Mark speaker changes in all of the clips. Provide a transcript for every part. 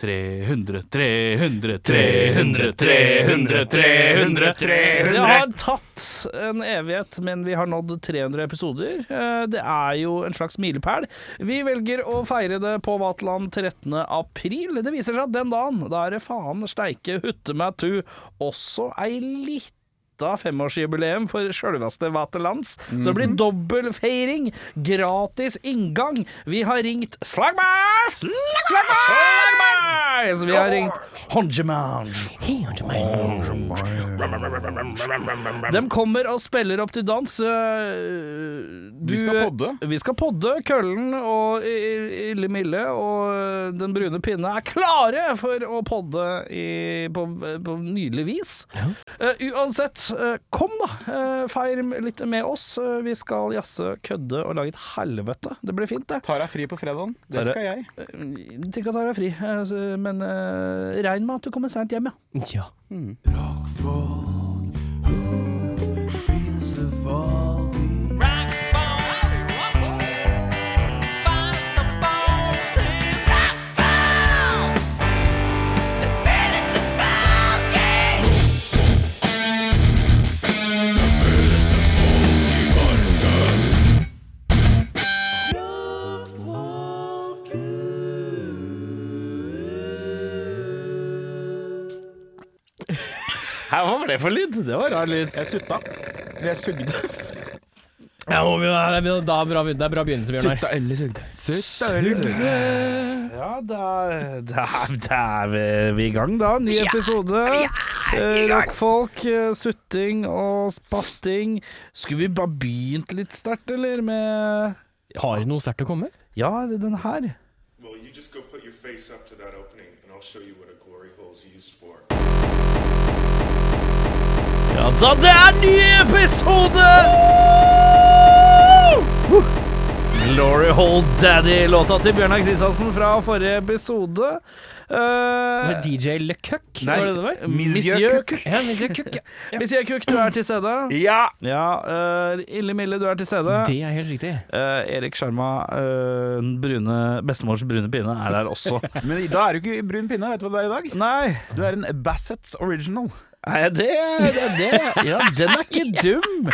Speaker 1: 300, 300, 300, 300, 300, 300
Speaker 2: Det har tatt en evighet, men vi har nådd 300 episoder. Eh, Det er jo en slags milepæl. Vi velger å feire det på Vaterland 13. april. Det viser seg at den dagen, da er det faen steike hutte meg tu, også ei lita femårsjubileum for sjølveste Vaterlands. Så det blir dobbel feiring, gratis inngang. Vi har ringt Slagmas! Slagmas! Slagmas! Vi har ringt Honjemange. De kommer og spiller opp til dans. øh, du-
Speaker 3: Vi skal podde.
Speaker 2: Vi skal podde. Køllen og I- I- Ille Mille og øh, Den brune pinne er klare for å podde i, på, på nydelig vis. Eh, uansett, eh, kom da. eh, feir litt med oss. Eh, vi skal jazze, kødde og lage et helvete. Det blir fint, det.
Speaker 3: Tar deg fri på fredagen. Det
Speaker 2: Tara-
Speaker 3: skal jeg.
Speaker 2: Eh, Tenk at jeg er fri, eh, så- men eh, regn med at du kommer seint hjem, ja.
Speaker 4: Ja.
Speaker 2: Hva var det for lyd? Det var rar lyd.
Speaker 3: Jeg sutta. Eller jeg sugde.
Speaker 4: Ja, må vi, det er da bra, det er bra begynnelse, Bjørnar.
Speaker 3: eller sugde. Sutta
Speaker 2: Ja, da, da, da er vi i gang, da. Ny episode. Eh, Rockfolk, eh, sutting og spatting. Skulle vi bare begynt litt sterkt, eller? Med
Speaker 4: Har du noe sterkt å komme?
Speaker 2: Ja, det er den her.
Speaker 5: Well, you just go put your face up to that opening, and I'll show you what a glory hole is used for.
Speaker 2: Ja da, det er ny episode! Woo! Glory Hole Daddy-låta til Bjørnar Kristiansen fra forrige episode. Eh,
Speaker 4: Med DJ Le Cuck?
Speaker 2: nei,
Speaker 4: var det det var?
Speaker 2: Monsieur Cook.
Speaker 4: Ja, Monsieur Cuck, ja.
Speaker 2: Monsieur Cook, du er til stede.
Speaker 3: Ja!
Speaker 2: Ja, eh, Ille Mille, du er til stede.
Speaker 4: Det er helt riktig.
Speaker 2: Eh, Erik Sjarma, eh, den brune, bestemors brune pinne, er der også.
Speaker 3: Men da er du ikke i brun pinne. Vet du hva det er i dag?
Speaker 2: Nei,
Speaker 3: Du er en Bassets original.
Speaker 2: er jeg det, det, er det Ja, den er ikke dum.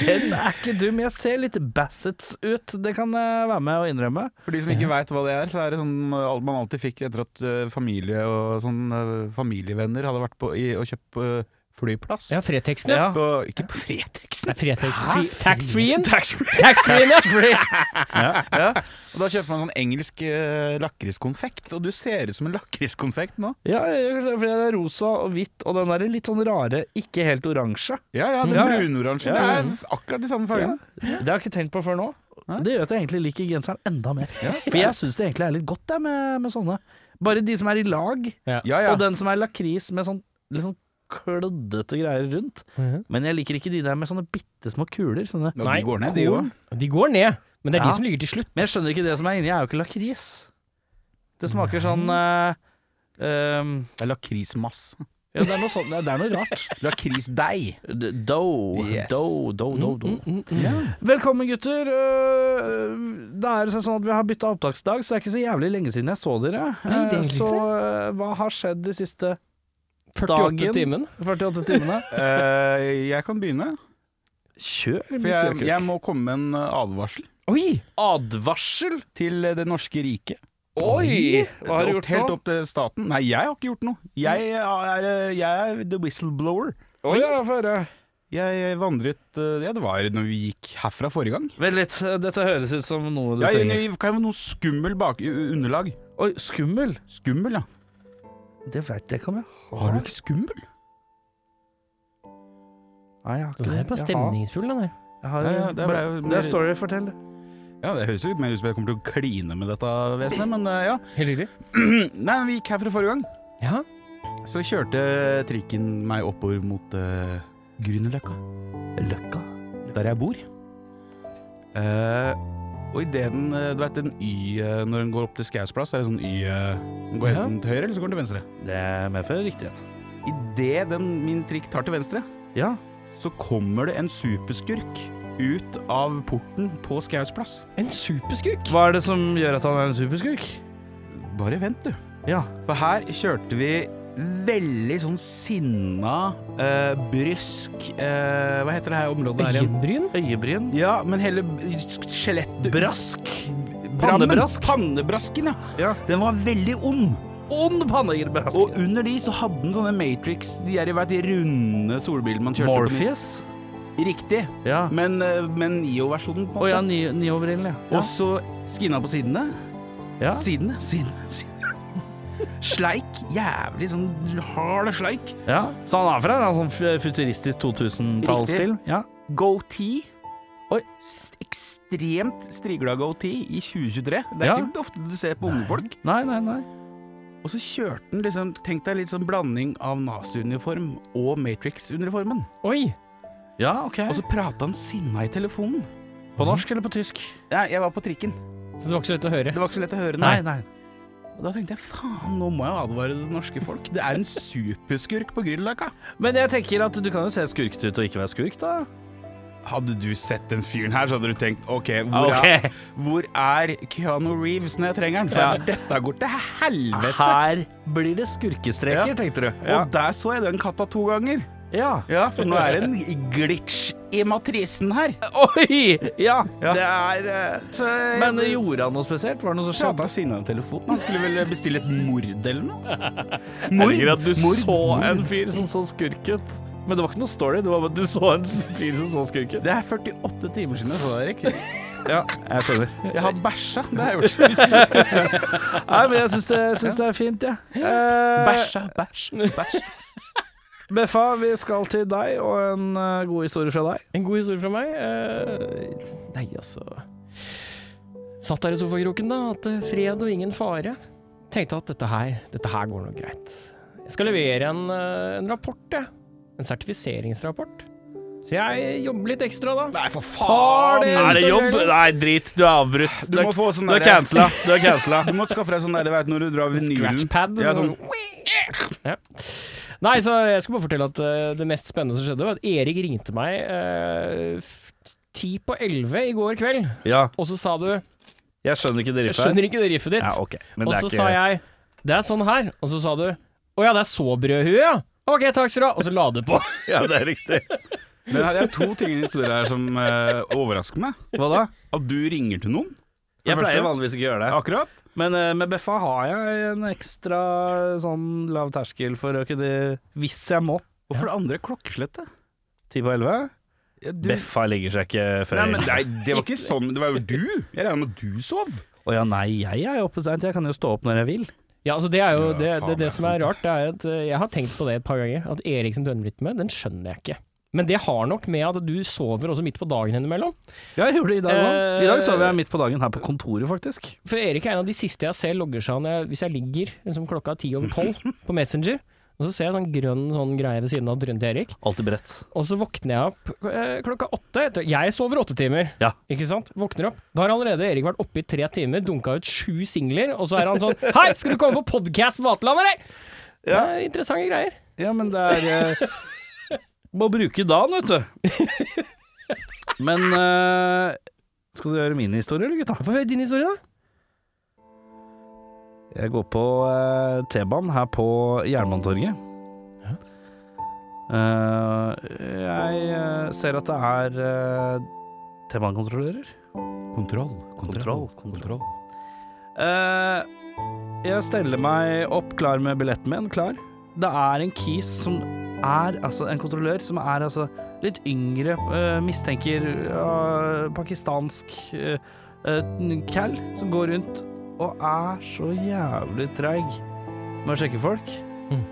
Speaker 2: Den er ikke dum. Jeg ser litt Bassets ut, det kan jeg være med og innrømme.
Speaker 3: For de som ikke veit hva det er, så er det sånn uh, alt man alltid fikk etter at uh, familie og sånn uh, familievenner hadde vært på i, og kjøpt på uh, flyplass.
Speaker 4: Ja, Freteksten, ja.
Speaker 3: På, ikke på Fretex.
Speaker 4: Nei, Freteksten. Fri- Tax-free-en?
Speaker 2: Taxfree.
Speaker 4: Tax-free-en, ja.
Speaker 3: Ja. Og da kjøper man sånn engelsk uh, lakriskonfekt, og du ser ut som en lakriskonfekt nå.
Speaker 2: Ja, for det er rosa og hvitt, og den er litt sånn rare, ikke helt oransje.
Speaker 3: Ja, ja, den
Speaker 2: Ja, ja.
Speaker 3: brunoransje.
Speaker 2: Ja, ja.
Speaker 3: Det er akkurat de samme fargene.
Speaker 2: Det har jeg ikke tenkt på før nå.
Speaker 3: Nei.
Speaker 2: Det gjør at jeg egentlig liker genseren enda mer. For jeg syns det egentlig er litt godt jeg, med, med sånne. Bare de som er i lag.
Speaker 3: Ja, ja.
Speaker 2: Og den som er lakris med sånn litt sånn kløddete greier rundt.
Speaker 4: Mhm.
Speaker 2: Men jeg liker ikke de der med sånne bitte små kuler. Sånne.
Speaker 3: Og de går ned, de
Speaker 4: korn.
Speaker 3: òg.
Speaker 4: De går ned, men det er
Speaker 2: Ja.
Speaker 4: de som ligger til slutt.
Speaker 2: Men jeg skjønner ikke det som er inni, er jo ikke lakris. Det smaker sånn eh, ehm,
Speaker 3: Det er lakrismass.
Speaker 2: Ja, det er noe sånt. Det er noe rart.
Speaker 3: Lakrisdeig.
Speaker 2: D- Dough.
Speaker 3: Yes.
Speaker 2: Dough, dough, dough, dough.
Speaker 4: Mm, mm, mm.
Speaker 2: Velkommen, gutter. Eh, Det er sånn at vi har bytta opptaksdag, så det er ikke så jævlig lenge siden jeg så dere.
Speaker 4: Nei, det er
Speaker 2: Eh,
Speaker 4: egentlig
Speaker 2: Så eh, hva har skjedd de siste
Speaker 4: 48
Speaker 2: Dagen.
Speaker 4: timen.
Speaker 2: 48 timene?
Speaker 3: Eh, jeg kan begynne,
Speaker 2: Kjør,
Speaker 3: for jeg, jeg må komme med en uh, advarsel
Speaker 4: Oi!
Speaker 2: Advarsel!
Speaker 3: til uh, det norske riket.
Speaker 2: Oi! Hva har du
Speaker 3: Opp-
Speaker 2: gjort
Speaker 3: Helt
Speaker 2: nå? Mm.
Speaker 3: opp til staten. Nei, jeg har ikke gjort noe. Jeg eh, er, jeg er the whistleblower.
Speaker 2: Oi, ja, få høre.
Speaker 3: Jeg vandret eh, Ja, det var når vi gikk herfra forrige gang.
Speaker 2: Vent litt, øh, dette høres ut som noe du
Speaker 3: Ja, jeg,
Speaker 2: trenger.
Speaker 3: jeg, kan jo noe skummel bak u- underlag.
Speaker 2: Oi, skummel?
Speaker 3: Skummel, ja.
Speaker 2: Det veit jeg ikke om jeg
Speaker 3: Har du ikke skummel?
Speaker 2: Nei, jeg har ikke
Speaker 4: Den er bare
Speaker 2: Jeg har-
Speaker 4: stemningsfull, den her.
Speaker 2: Jeg har,
Speaker 3: Ja, ja, det
Speaker 2: det,
Speaker 3: er bare-
Speaker 2: det er story, fortell.
Speaker 3: Ja, det høres jo ut mer ut som jeg kommer til å kline med dette vesenet, men eh, ja.
Speaker 4: Helt riktig.
Speaker 3: Nei, vi gikk herfra forrige gang.
Speaker 4: Ja.
Speaker 3: Så kjørte trikken meg oppover mot uh, Grünerløkka.
Speaker 2: Løkka.
Speaker 3: der jeg bor. Eh, og i det den eh, Du vet den Y eh, når den går opp til Skaus plass, er det sånn Y eh, Den går
Speaker 4: Ja.
Speaker 3: enten til høyre, eller så går den til venstre.
Speaker 2: Det medfører riktighet.
Speaker 3: I det den min trikk tar til venstre,
Speaker 2: Ja.
Speaker 3: så kommer det en superskurk ut av porten på Skaus plass.
Speaker 4: En superskurk.
Speaker 2: Hva er det som gjør at han er en superskurk?
Speaker 3: Bare vent, du.
Speaker 2: Ja.
Speaker 3: For her kjørte vi veldig sånn sinna, eh, brysk eh, Hva heter det her området her igjen?
Speaker 4: Øyebryn?
Speaker 2: Øyebryn.
Speaker 3: Ja, men hele b- skjelettet
Speaker 2: Brask.
Speaker 3: Brammen.
Speaker 2: Pannebrask.
Speaker 3: Pannebrasken, ja.
Speaker 2: Ja.
Speaker 3: Den var veldig ond.
Speaker 2: Ond pannebrask.
Speaker 3: Og under de så hadde den sånne Matrix De er i hvert de runde solbilene man kjørte
Speaker 2: Morpheus.
Speaker 3: på. Riktig.
Speaker 2: Ja.
Speaker 3: Men, eh, men Nio-versjonen, på
Speaker 2: Å ja,
Speaker 3: en måte.
Speaker 2: ni- Neo-brillene, ja.
Speaker 3: Og så skinna på sidene.
Speaker 2: Ja.
Speaker 3: Sidene, sidene, sidene. Sleik. Jævlig sånn hard sleik.
Speaker 2: ja. Så han er fra en sånn f- futuristisk 2000-tallsfilm? Ja.
Speaker 3: Goatee.
Speaker 2: Oi.
Speaker 3: S- Ekstremt strigla goatee i 2023. Det er
Speaker 2: Ja.
Speaker 3: ikke ofte du ser på unge folk.
Speaker 2: Nei, nei, nei.
Speaker 3: Og så kjørte den liksom Tenk deg litt sånn blanding av Nazi-uniform og Matrix-uniformen.
Speaker 4: Oi!
Speaker 2: Ja, OK.
Speaker 3: Og så prata han sinna i telefonen.
Speaker 2: på
Speaker 3: Mhm.
Speaker 2: norsk eller på tysk?
Speaker 3: Nei, jeg var på trikken.
Speaker 4: Så det var ikke så lett å høre.
Speaker 3: Det var ikke så lett å høre.
Speaker 2: Nei, nei.
Speaker 3: Og da tenkte jeg faen, nå må jeg advare det norske folk. Det er en superskurk på Grünerløkka.
Speaker 2: Men jeg tenker at du kan jo se skurkete ut og ikke være skurk, da.
Speaker 3: Hadde du sett den fyren her, så hadde du tenkt OK, hvor,
Speaker 2: Ok.
Speaker 3: Er, hvor er Keanu Reeves når jeg trenger han? For
Speaker 2: Ja.
Speaker 3: dette går til helvete.
Speaker 2: Her blir det skurkestreker,
Speaker 3: Ja.
Speaker 2: tenkte du.
Speaker 3: Og der så jeg den katta to ganger.
Speaker 2: ja.
Speaker 3: Ja, for nå er det en glitch i matrisen her.
Speaker 2: Oi! Ja,
Speaker 3: Ja.
Speaker 2: det er eh,
Speaker 3: Så
Speaker 2: Men gjorde han noe spesielt? Var det noe som skjedde?
Speaker 3: Prata sinna i telefonen. Han skulle vel bestille et mord eller noe?
Speaker 2: Herregud, at du
Speaker 3: mord,
Speaker 2: så
Speaker 3: mord.
Speaker 2: en fyr som så skurket. Men det var ikke noe story, det var bare at du så en fyr som så skurket.
Speaker 3: Det er 48 timer siden jeg så deg, Erik.
Speaker 2: Ja, jeg skjønner.
Speaker 3: Jeg har bæsja. Det har jeg gjort.
Speaker 2: Nei, men jeg syns det, jeg syns det er fint, jeg. Ja. Eh,
Speaker 3: Bæsja, bæsj, bæsj.
Speaker 2: Beffa, vi skal til deg og en eh, god historie fra deg.
Speaker 4: En god historie fra meg? Eh, nei, altså Satt der i sofakroken, da. Hatt eh, fred og ingen fare. Tenkte at dette her, dette her går nok greit. Jeg skal levere en, eh, en rapport, jeg. En sertifiseringsrapport. Så jeg jobber litt ekstra, da. Nei, for faen!
Speaker 2: Er det jobb? Nei, drit. Du er avbrutt.
Speaker 3: Du må få sånn
Speaker 2: Du er
Speaker 3: derre-
Speaker 2: cancela. Du er cancela.
Speaker 3: Du må skaffe deg sånn der, du vet, når du drar vinylen.
Speaker 4: Scratchpad.
Speaker 3: Ja, sånn.
Speaker 4: ja. Nei, så jeg skal bare fortelle at eh, det mest spennende som skjedde, var at Erik ringte meg eh, f- ti på elleve i går kveld,
Speaker 2: Ja,
Speaker 4: og så sa du
Speaker 2: jeg skjønner ikke det
Speaker 4: Jeg
Speaker 2: riffet. her.
Speaker 4: skjønner ikke det riffet ditt.
Speaker 2: Ja, ok. Men
Speaker 4: og
Speaker 2: det er
Speaker 4: så
Speaker 2: ikke
Speaker 4: sa jeg Det er sånn her. Og så sa du Å ja, det er så brødhue, ja. Ok, takk skal du ha. Og så la du på.
Speaker 2: Ja, det er riktig.
Speaker 3: Men det er to ting i den historien her som eh, overrasker meg.
Speaker 2: Hva da?
Speaker 3: At du ringer til noen.
Speaker 2: Jeg
Speaker 3: første.
Speaker 2: pleier vanligvis ikke å gjøre det.
Speaker 3: Akkurat.
Speaker 2: Men eh, med Beffa har jeg en ekstra sånn lav terskel for å kunne Hvis jeg må.
Speaker 3: Og for det andre klokkeslettet.
Speaker 2: Ti på elleve.
Speaker 3: Ja, du-
Speaker 2: Beffa legger seg ikke før
Speaker 3: Nei, men nei, det var ikke sånn. Det var jo du. Jeg regner med at du sov.
Speaker 2: Å ja, nei, jeg er jo oppe seint. Jeg kan jo stå opp når jeg vil.
Speaker 4: Ja, altså Det er jo
Speaker 3: Ja,
Speaker 4: det,
Speaker 3: faen, det
Speaker 4: det,
Speaker 3: er
Speaker 4: det som er
Speaker 3: sant,
Speaker 4: rart. Det er at eh, Jeg har tenkt på det et par ganger. At Eriksen døgnrytme, den skjønner jeg ikke. Men det har nok med at du sover også midt på dagen innimellom.
Speaker 2: Ja, jeg gjorde det i dag òg.
Speaker 4: Eh,
Speaker 2: I dag sover jeg midt på dagen her på kontoret, faktisk.
Speaker 4: For Erik er en av de siste jeg ser logger seg av når jeg- hvis jeg ligger liksom klokka ti over tolv på Messenger. Og så ser jeg sånn grønn sånn greie ved siden av drønnen til Erik.
Speaker 2: Alltid beredt.
Speaker 4: Og så våkner jeg opp eh, klokka åtte. etter- Jeg sover åtte timer,
Speaker 2: Ja.
Speaker 4: ikke sant? Våkner opp. Da har allerede Erik vært oppe i tre timer, dunka ut sju singler, og så er han sånn Hei, skal du komme på podkast Vaterland, eller? Ja. Det er interessante greier.
Speaker 2: Ja, men det er eh, Må bruke dagen, vet du. Men eh, skal du gjøre min historie, eller, gutta?
Speaker 4: Få høre din historie, da.
Speaker 2: Jeg går på eh, T-banen her på Jernbanetorget. Eh, jeg eh, ser at det er eh, T-banekontrollører.
Speaker 3: Kontroll,
Speaker 2: Kontroll, kontroll. Eh, jeg steller meg opp klar med billetten min. Klar. Det er en kis som er altså en kontrollør som er altså litt yngre, eh, mistenker ja, pakistansk uh, cal, som går rundt og er så jævlig treig med å sjekke folk.
Speaker 4: Mm.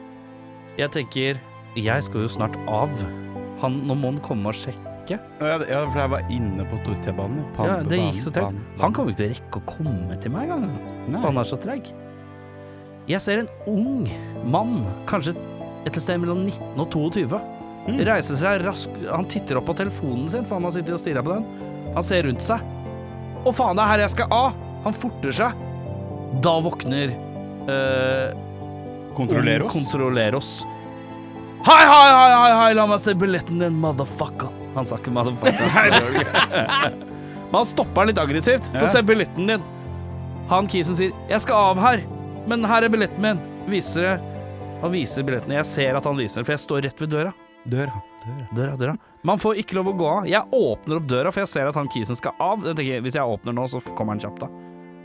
Speaker 2: Jeg tenker jeg skal jo snart av. Han, nå må han komme og sjekke.
Speaker 3: Ja, det- ja, for jeg var inne på Tor- T-banen. Pan-
Speaker 2: Ja, det
Speaker 3: banen,
Speaker 2: gikk så tregt.
Speaker 3: banen, banen.
Speaker 2: Han kommer ikke til å rekke å komme til meg engang.
Speaker 3: Nei.
Speaker 2: Han er så treig. Jeg ser en ung mann, kanskje et eller sted mellom 19 og 22,
Speaker 3: Mm.
Speaker 2: reiser seg raskt Han titter opp på telefonen sin, for han har sittet og stirra på den. Han ser rundt seg. Å, faen, det er her jeg skal av! Han forter seg. Da våkner eh,
Speaker 3: Kontroller
Speaker 2: Om
Speaker 3: oss.
Speaker 2: Kontroller oss. Hei, hei, hei, hei, hei, la meg se billetten din, motherfucker. Han sa ikke motherfucker. Men han stopper litt aggressivt. Få
Speaker 3: Ja.
Speaker 2: se billetten din. Han kisen sier 'jeg skal av her'. Men her er billetten min. Viser det. Han viser billettene. Jeg ser at han viser, for jeg står rett ved døra.
Speaker 3: Døra. Døra.
Speaker 2: Døra, døra. Man får ikke lov å gå av. Jeg åpner opp døra, for jeg ser at han kisen skal av. Jeg tenker, hvis jeg åpner nå, så kommer han kjapt da.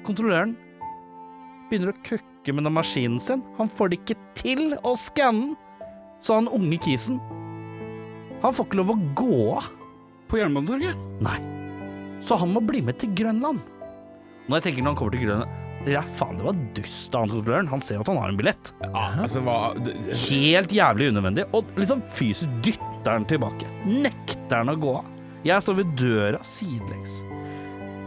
Speaker 2: Kontrolløren begynner å køkke med den maskinen sin. Han får det ikke til å skanne den. Så han unge kisen Han får ikke lov å gå av.
Speaker 3: På Jernbanetorget?
Speaker 2: Nei. Så han må bli med til Grønland. Når jeg tenker når han kommer til Grønland det er faen, det var dust av han kontrolløren. Han ser jo at han har en billett.
Speaker 3: Altså, hva d- d-
Speaker 2: Helt jævlig unødvendig. Og liksom fysisk dytter han tilbake. Nekter han å gå av. Jeg står ved døra sidelengs.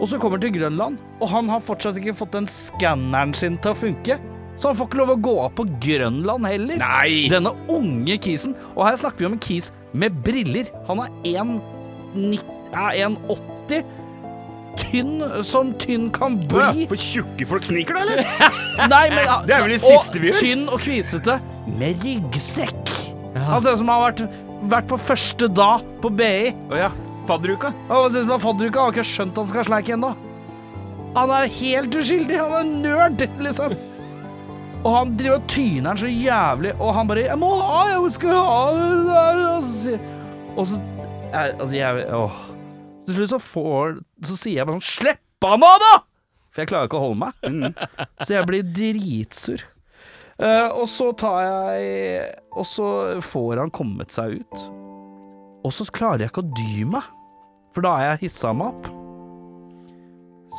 Speaker 2: Og så kommer han til Grønland, og han har fortsatt ikke fått den skanneren sin til å funke. Så han får ikke lov å gå av på Grønland heller.
Speaker 3: Nei!
Speaker 2: Denne unge kisen. Og her snakker vi om en kis med briller. Han er 1,90 er 1,80. Tynn som tynn kan
Speaker 3: Åja,
Speaker 2: bli.
Speaker 3: For tjukke folk sniker, da, eller?
Speaker 2: Nei, men, ja,
Speaker 3: Det er vel det siste vi gjør.
Speaker 2: Og tynn og kvisete med ryggsekk.
Speaker 4: Ja.
Speaker 2: Han ser ut som han har vært, vært på første da på BI.
Speaker 3: Å ja. Fadderuka.
Speaker 2: Han ser ut som han har fadderuka, han har ikke skjønt han skal sleike ennå. Han er helt uskyldig, han er nerd, liksom. Og han driver og tyner han så jævlig, og han bare 'Jeg må ha, jeg skal ha det der', og så sier- Og så jeg, Altså, jeg Åh. Til slutt så får Så sier jeg bare sånn 'Slipp han av, da!' For jeg klarer ikke å holde meg.
Speaker 3: Mm.
Speaker 2: Så jeg blir dritsur. Eh, og så tar jeg Og så får han kommet seg ut. Og så klarer jeg ikke å dy meg, for da har jeg hissa meg opp.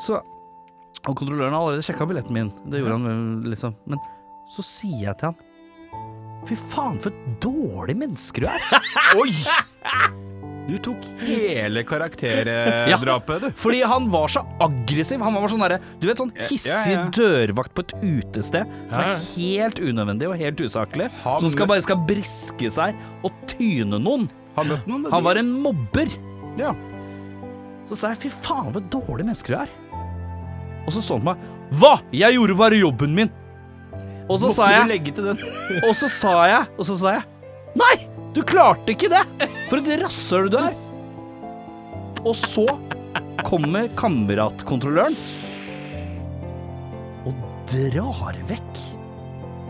Speaker 2: Så Og kontrolløren har allerede sjekka billetten min. Det gjorde han vel, liksom. Men så sier jeg til han Fy faen, for et dårlig menneske du er.
Speaker 3: Oi! Du tok hele karakterdrapet, du.
Speaker 2: Fordi han var så aggressiv. Han var sånn derre Du vet, sånn hissig
Speaker 3: ja, ja.
Speaker 2: dørvakt på et utested som
Speaker 4: Ja,
Speaker 2: er
Speaker 4: ja.
Speaker 2: helt unødvendig og helt usaklig.
Speaker 3: Han-
Speaker 2: Som skal bare skal briske seg og tyne noen.
Speaker 3: Har møtt noen, da?
Speaker 2: Han var en mobber.
Speaker 3: Ja.
Speaker 2: Så sa jeg fy faen, hvor dårlig mennesker du er. Og så så han på meg. Hva?! Jeg gjorde bare jobben min! Og så sa jeg
Speaker 3: legge til den?
Speaker 2: og så sa jeg, og så sa jeg Nei, du klarte ikke det! For et rasshøl du er! Og så kommer kameratkontrolløren og drar vekk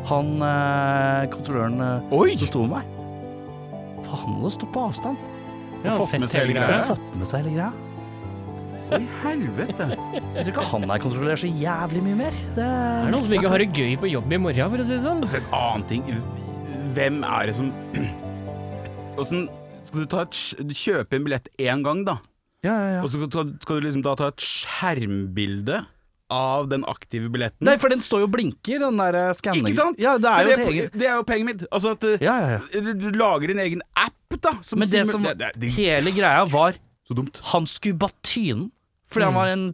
Speaker 2: han eh, kontrolløren eh,
Speaker 3: Oi!
Speaker 2: som sto med meg. For han hadde stått på avstand.
Speaker 4: Ja,
Speaker 3: fått
Speaker 4: sett
Speaker 3: med seg
Speaker 4: hele
Speaker 3: hele
Speaker 4: greia.
Speaker 3: greia.
Speaker 2: Fått med seg hele greia.
Speaker 3: I helvete.
Speaker 2: Så jeg tror ikke han der kontrollerer så jævlig mye mer. Det
Speaker 4: Er det noen som ikke har det gøy på jobb i morgen, for å si det sånn?
Speaker 3: Så en annen ting. Hvem er det som Åssen skal du ta et, sj- kjøpe en billett én gang, da?
Speaker 2: ja, ja, ja.
Speaker 3: Og så skal, skal du liksom da ta et skjermbilde av den aktive billetten?
Speaker 2: Nei, for den står jo og blinker, den der eh, skanningen.
Speaker 3: Ikke sant?
Speaker 2: Ja, det er
Speaker 3: Men
Speaker 2: jo et eget
Speaker 3: po- det er jo poenget mitt. Altså at uh,
Speaker 2: Ja, ja, ja.
Speaker 3: du, du lager din egen app, da. Som
Speaker 2: Men det
Speaker 3: simu-
Speaker 2: som
Speaker 3: det, det, det,
Speaker 2: Hele greia var
Speaker 3: Så dumt.
Speaker 2: han skulle bare tyne fordi
Speaker 3: Mm.
Speaker 2: han var en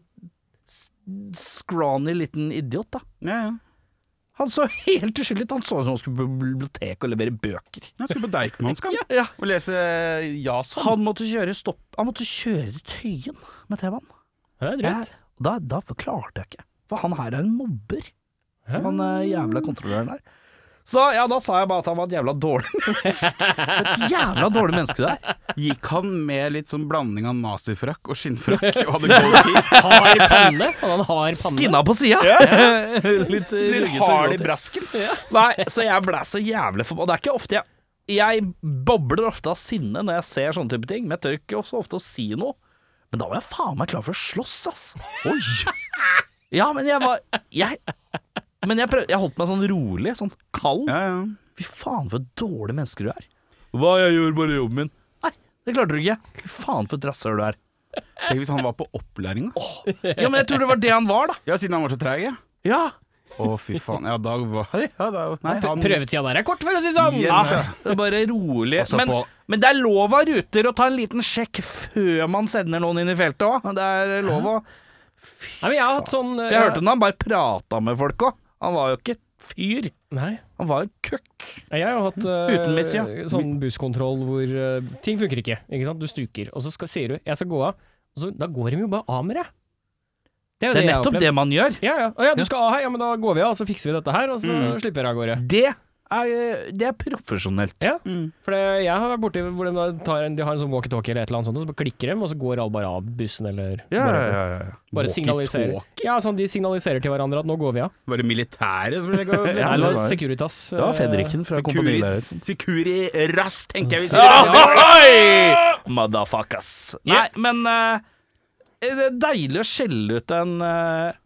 Speaker 2: s- scrawny liten idiot, da.
Speaker 3: Ja, ja.
Speaker 2: Han så helt uskyldig ut. Han så ut som han skulle på biblioteket og levere bøker.
Speaker 3: Jeg skulle på Deichmanskan
Speaker 2: Ja.
Speaker 3: og lese eh, Jason.
Speaker 2: Han måtte kjøre stopp Han måtte kjøre til Tøyen med T-banen.
Speaker 4: Ja, Det er
Speaker 2: Jeg-
Speaker 4: drøyt.
Speaker 2: Da, da forklarte jeg ikke. For han her er en mobber.
Speaker 4: Hæ?
Speaker 2: Han eh, jævla kontrolløren der. Så ja, da sa jeg bare at han var et jævla dårlig menneske. For et jævla dårlig menneske det er.
Speaker 3: Gikk han med litt sånn blanding av nazifrakk og skinnfrakk og hadde god tid?
Speaker 4: Hard panne. Han hadde en hard panne.
Speaker 2: Skinna på sida. Litt eh, ruggete og
Speaker 3: Hard
Speaker 2: godt.
Speaker 3: i brasken?
Speaker 2: Nei, så jeg ble så jævlig forbanna. Det er ikke ofte jeg Jeg bobler ofte av sinne når jeg ser sånne type ting, men jeg tør ikke så ofte å si noe. Men da var jeg faen meg klar for å slåss, ass. Oi! Ja, men jeg var Jeg Men jeg, prøv, jeg holdt meg sånn rolig, sånn kald.
Speaker 3: Ja, ja.
Speaker 2: Fy faen, for et dårlig menneske du er. Hva, jeg gjør bare jobben min. Nei, det klarte du ikke. Fy faen, for et rasshøl du er.
Speaker 3: Tenk hvis han var på opplæring, da.
Speaker 2: Ja, men jeg tror det var det han var, da.
Speaker 3: Ja, siden han var så treig, ja.
Speaker 2: Ja.
Speaker 3: Å, fy faen. Ja, da var ja, da, Nei,
Speaker 4: Pr-
Speaker 3: han
Speaker 4: Prøvetida der er kort, for å si det sånn.
Speaker 3: Igjen,
Speaker 4: Ja.
Speaker 3: ja.
Speaker 2: Det er bare rolig.
Speaker 3: Altså,
Speaker 2: men,
Speaker 3: på-
Speaker 2: men det er lov av ruter å ta en liten sjekk før man sender noen inn i feltet òg. Det er lov å
Speaker 4: Nei, men jeg har hatt sånn
Speaker 2: For jeg hørte den, han bare prata med folk òg. Han var jo ikke fyr.
Speaker 4: Nei.
Speaker 2: Han var en køkk.
Speaker 4: Nei, Jeg har jo hatt eh,
Speaker 2: Uten miss, ja.
Speaker 4: sånn busskontroll hvor eh, ting funker ikke. ikke sant? Du stryker, og så skal, sier du 'jeg skal gå av', og så, da går de jo bare av med deg.
Speaker 2: Det
Speaker 4: jo
Speaker 2: er
Speaker 4: jeg har
Speaker 2: nettopp
Speaker 4: opplevd.
Speaker 2: det man gjør.
Speaker 4: Ja, ja. Å ja, du skal av her, ja, men da går vi av, og så fikser vi dette her, og så slipper dere av gårde.
Speaker 2: Det er, det er profesjonelt.
Speaker 4: Ja, for det, jeg har vært borti hvor de, da tar en, de har en sånn walkietalkie eller et eller annet sånt, og så klikker de, og så går alle bare av bussen eller bare, bare signaliserer. Ja, sånn, de signaliserer til hverandre at nå går vi av.
Speaker 3: Var det militære som sjekka
Speaker 4: Nei, det var
Speaker 1: det var-
Speaker 4: Securitas. eh,
Speaker 1: Det var Fedriken fra Kompani
Speaker 3: liksom.
Speaker 1: Lauritzen.
Speaker 3: Sikuri Rass, tenker jeg vi
Speaker 2: Ahoy! Motherfuckers. Nei, men eh, er det er deilig å skjelle ut en, eh,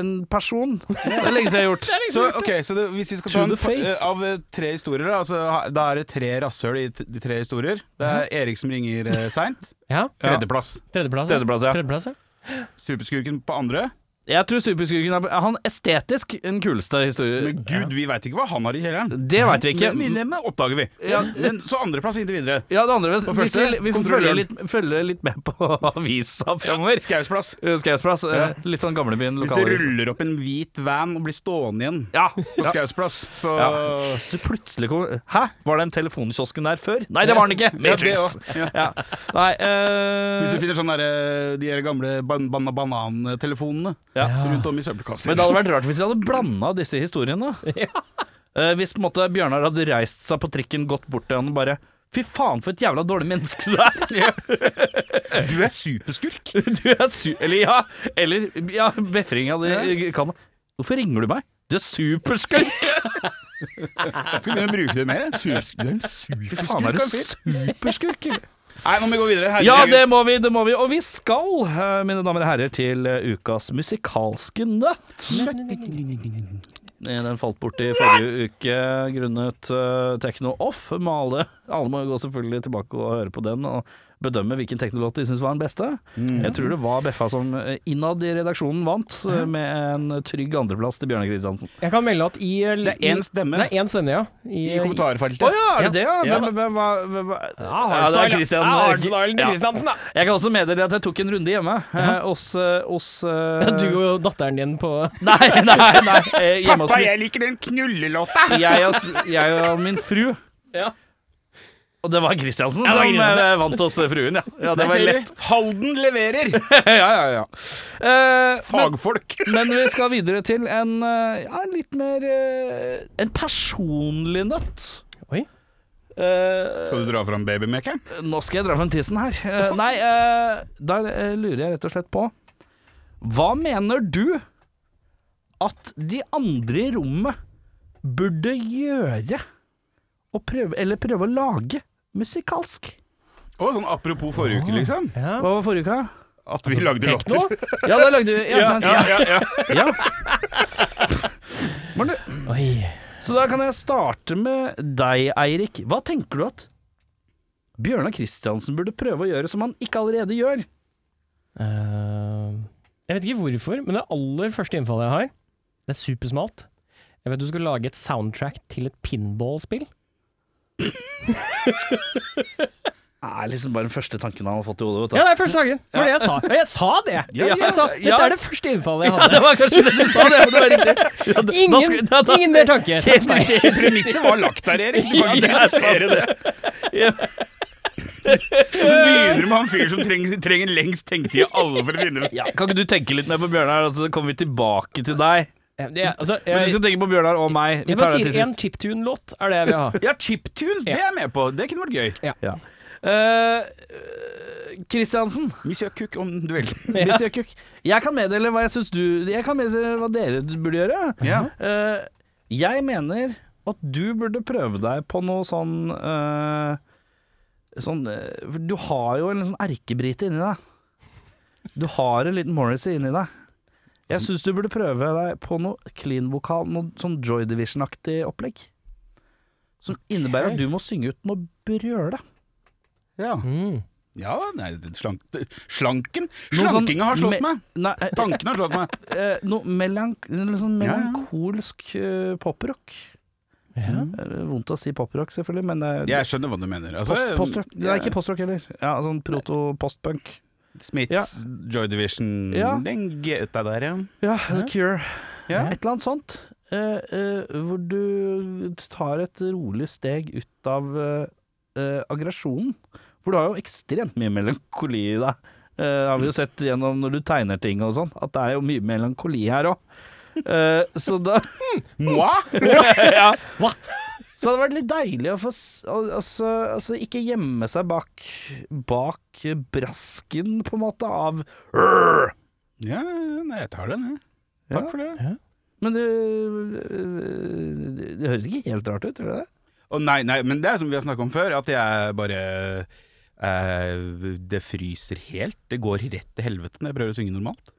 Speaker 2: en person. Det er lenge siden jeg har gjort.
Speaker 3: Så, ok, så det, hvis vi skal
Speaker 2: To
Speaker 3: ta en,
Speaker 2: the face.
Speaker 3: eh, av eh, tre historier, da, altså, ha- da er det tre rasshøl i t- de tre historier. Det er
Speaker 2: Mhm.
Speaker 3: Erik som ringer eh, seint.
Speaker 4: Ja,
Speaker 3: Tredjeplass.
Speaker 4: tredjeplass.
Speaker 2: Tredjeplass, ja.
Speaker 4: Tredjeplass, ja.
Speaker 3: Superskurken på andre.
Speaker 2: Jeg tror Superskurken er han estetisk den kuleste historien.
Speaker 3: Men gud, vi veit ikke hva han har i kjelleren.
Speaker 2: Det veit vi Eh, ikke.
Speaker 3: Men men oppdager vi.
Speaker 2: Ja.
Speaker 3: Men, så andreplass inntil videre.
Speaker 2: Ja, det andre hvis, hvis
Speaker 3: første,
Speaker 2: vi, vi får følge
Speaker 3: kontrolløren.
Speaker 2: litt, følge litt med på avisa fremover.
Speaker 3: Skaus plass.
Speaker 2: Eh, Skausplass. eh, Litt sånn gamlebyen
Speaker 3: Hvis det
Speaker 2: lokalavis.
Speaker 3: ruller opp en hvit van og blir stående igjen
Speaker 2: Ja.
Speaker 3: på Skaus plass, så
Speaker 2: ja. Så plutselig kom Hæ? Var den telefonkiosken der før? Nei, det var den ikke!
Speaker 3: Ja, det
Speaker 2: Matrix.
Speaker 3: også. Ja.
Speaker 2: Ja. Nei eh,
Speaker 3: Hvis du finner sånne der, eh, de der gamle ban ban banantelefonene
Speaker 2: Ja.
Speaker 3: rundt om i søppelkasser.
Speaker 2: Men det hadde vært rart hvis vi hadde blanda disse historiene. Eh, hvis på en måte Bjørnar hadde reist seg på trikken, gått bort til han og bare Fy faen, for et jævla dårlig menneske du er!
Speaker 3: Du er superskurk!
Speaker 2: Du er su... Eller ja, eller ja, befring av det kan Hvorfor ringer du meg? Du er superskurk!
Speaker 3: Skal vi begynne å bruke det mer? Superskurk. Du er en superskurk.
Speaker 2: Fy faen, er du
Speaker 3: kanskje?
Speaker 2: superskurk? eller?
Speaker 3: Nei, nå må vi gå videre.
Speaker 2: Ja,
Speaker 3: Herregud.
Speaker 2: det må vi, det må vi. Og vi skal, eh, mine damer og herrer, til eh, ukas musikalske nøtt. Eh, Den falt bort i forrige uke grunnet eh, Tekno Off. med alle- alle må jo gå selvfølgelig tilbake og høre på den og bedømme hvilken teknolåt de syns var den beste. Jeg tror det var Beffa som eh, innad i redaksjonen vant, eh, med en trygg andreplass til Bjørnar Kristiansen.
Speaker 4: Jeg kan melde at i eh,
Speaker 3: Det er én stemme
Speaker 4: Det er én stemme, ja. I,
Speaker 3: i kommentarfeltet.
Speaker 2: Å ja, er det det, ja?
Speaker 3: Ja.
Speaker 2: Hvem, hvem, var- hvem, var- Ja,
Speaker 4: Ja,
Speaker 2: det er
Speaker 4: hardstyle. Ja,
Speaker 2: Christian-
Speaker 4: hardstyle til
Speaker 2: Ja.
Speaker 4: Kristiansen, da.
Speaker 2: Jeg kan også meddele at jeg tok en runde hjemme eh, hos, eh, hos eh,
Speaker 4: Du og datteren din på
Speaker 2: Nei, nei, nei. eh, Hjemme hos
Speaker 3: Pappa,
Speaker 2: min
Speaker 3: jeg liker den knullelåta!
Speaker 2: jeg og, s- jeg og min fru.
Speaker 4: Ja.
Speaker 2: Og det var Kristiansen
Speaker 4: det var
Speaker 2: som
Speaker 4: Kristiansen.
Speaker 2: eh, vant hos fruen, ja. ja det
Speaker 3: Der
Speaker 2: var
Speaker 3: ser du.
Speaker 2: lett.
Speaker 3: Halden leverer!
Speaker 2: ja, ja, ja. Eh, men,
Speaker 3: Fagfolk.
Speaker 2: men vi skal videre til en, eh, ja, en litt mer eh, En personlig nøtt.
Speaker 4: Oi.
Speaker 2: Eh,
Speaker 3: Skal du dra fram babymekeren?
Speaker 2: nå skal jeg dra frem tissen her. Eh, nei, eh, der eh, lurer jeg rett og slett på Hva mener du at de andre i rommet burde gjøre og prøve, eller prøve å lage musikalsk?
Speaker 3: Å, sånn apropos forrige uke, liksom.
Speaker 4: Ja.
Speaker 2: Hva var forrige uka?
Speaker 3: At vi lagde
Speaker 4: Tekno?
Speaker 3: låter.
Speaker 2: Ja, da lagde vi ja,
Speaker 3: Ja,
Speaker 2: sant?
Speaker 3: ja, ja, ja.
Speaker 2: Ja.
Speaker 4: Oi.
Speaker 2: Så da kan jeg starte med deg, Eirik. Hva tenker du at Bjørnar Kristiansen burde prøve å gjøre som han ikke allerede gjør?
Speaker 4: Eh, jeg vet ikke hvorfor, men det aller første innfallet jeg har, det er supersmalt. Jeg vet du skal lage et soundtrack til et pinballspill.
Speaker 2: Det er liksom bare den første tanken han har fått i hodet. vet du.
Speaker 4: Ja, det er første dagen! Det var det jeg sa. Og jeg sa det!
Speaker 2: ja,
Speaker 4: jeg sa,
Speaker 2: ja.
Speaker 4: Dette er det første innfallet jeg hadde.
Speaker 2: Det var kanskje det du sa, det, men det var riktig. Ja, da- da skal-
Speaker 4: Ingen,
Speaker 2: da- da-
Speaker 4: ingen mer tanke. Takk, nei.
Speaker 3: Premisset var lagt der, Erik. Du
Speaker 2: Ja,
Speaker 3: kan ikke
Speaker 2: det er
Speaker 3: kritisere det.
Speaker 2: Ja.
Speaker 3: Og så begynner du med han fyren som trenger, trenger lengst tenketid av alle for å finne det.
Speaker 2: Ja, kan ikke du tenke litt mer på Bjørnar, og så kommer vi tilbake til deg?
Speaker 4: Ja, det er- altså,
Speaker 2: Men du
Speaker 4: jeg,
Speaker 2: skal tenke på Bjørnar og meg. Vi
Speaker 4: jeg
Speaker 2: tar
Speaker 4: bare
Speaker 2: det til
Speaker 4: sier
Speaker 2: sist.
Speaker 4: én chiptune-låt er det jeg vil ha.
Speaker 3: Ja, chiptunes, det er jeg med på. Det kunne vært gøy.
Speaker 2: Ja. Eh, Kristiansen,
Speaker 3: Monsieur Cook om duell.
Speaker 2: hvis jeg kukk. Jeg kan meddele hva jeg syns du Jeg kan meddele hva dere burde gjøre.
Speaker 3: Ja.
Speaker 2: Eh, jeg mener at du burde prøve deg på noe sånn eh, Sånn eh, For du har jo en sånn erkebrite inni deg. Du har en liten Morrissey inni deg. Jeg syns du burde prøve deg på noe clean-vokal, noe sånn Joy Division-aktig opplegg. Som innebærer at du må synge ut noe brøle.
Speaker 3: Ja.
Speaker 4: Mm.
Speaker 3: ja da, nei, det- slank, slanken
Speaker 2: Noe sånn
Speaker 3: Slankinga har slått
Speaker 2: me-
Speaker 3: meg.
Speaker 2: Nei, eh,
Speaker 3: Tanken har slått meg.
Speaker 2: eh, noe melank litt sånn
Speaker 3: Ja, ja.
Speaker 2: melankolsk eh, poprock.
Speaker 4: Ja.
Speaker 2: Eh, Vondt å si poprock, selvfølgelig, men det,
Speaker 3: Jeg skjønner hva du mener. Altså,
Speaker 2: Post, postrock. Det er ikke postrock heller. Ja, sånn proto-postpunk.
Speaker 3: eh, Smiths Joy Division
Speaker 2: Ja. Mm.
Speaker 3: Den geta der, ja.
Speaker 2: Ja, The Cure.
Speaker 3: Ja.
Speaker 2: Et eller annet sånt. eh, eh, hvor du tar et rolig steg ut av eh, eh, aggresjonen. For du har jo ekstremt mye melankoli i deg. Eh, Det har vi jo sett gjennom når du tegner ting og sånn, at det er jo mye melankoli her òg. så Eh, da
Speaker 3: Moi?
Speaker 2: ja.
Speaker 4: Hva?
Speaker 2: Så det hadde vært litt deilig å få s- al- altså, altså ikke gjemme seg bak, bak brasken, på en måte, av
Speaker 3: Ja, nei, jeg tar den, jeg. Takk for det.
Speaker 2: Men det, det, det høres ikke helt rart ut, gjør det det?
Speaker 3: Å, nei, nei, men det er som vi har snakket om før, at jeg bare eh, Det fryser helt. Det går rett til helvete når jeg prøver å synge normalt.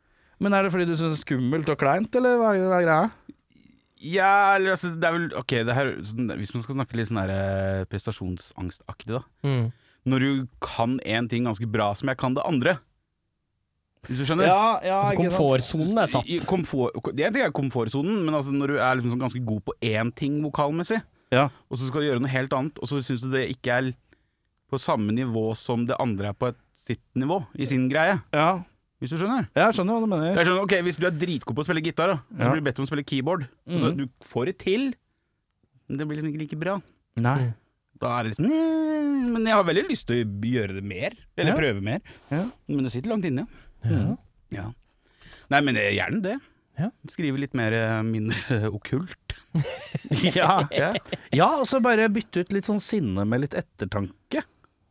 Speaker 2: Men er det fordi du syns det er skummelt og kleint, eller hva er hva er greia?
Speaker 3: Ja, eller altså, det er vel Ok, det her, sånn, hvis man skal snakke litt sånn her eh, prestasjonsangstaktig, da.
Speaker 4: Mm.
Speaker 3: Når du kan én ting ganske bra som jeg kan det andre. Hvis du skjønner?
Speaker 2: Ja, ja,
Speaker 4: Altså,
Speaker 2: ikke sant?
Speaker 4: komfortsonen
Speaker 3: I
Speaker 4: er satt.
Speaker 3: komfort, jeg tenker komfortsonen, men altså når du er liksom sånn ganske god på én ting vokalmessig,
Speaker 2: Ja.
Speaker 3: og så skal du gjøre noe helt annet, og så syns du det ikke er på samme nivå som det andre er på et sitt nivå, i sin greie,
Speaker 2: Ja,
Speaker 3: hvis du skjønner?
Speaker 2: jeg skjønner hva du
Speaker 3: Det
Speaker 2: mener.
Speaker 3: er sånn, ok, Hvis du er dritgod på å spille gitar, da, og
Speaker 2: Ja.
Speaker 3: så blir du bedt om å spille keyboard, og så
Speaker 2: Mhm.
Speaker 3: altså, du får det til, men det blir liksom ikke like bra.
Speaker 2: Nei.
Speaker 3: Da er det liksom "Nei", Men jeg har veldig lyst til å gjøre det mer,
Speaker 2: Ja.
Speaker 3: eller prøve mer,
Speaker 2: Ja.
Speaker 3: men det sitter langt inne.
Speaker 4: Ja.
Speaker 3: Ja. Nei, men eh, gjerne det.
Speaker 4: Ja.
Speaker 3: Skrive litt mer eh, mindre okkult.
Speaker 2: Ja. ja, og så bare bytte ut litt sånn sinne med litt ettertanke.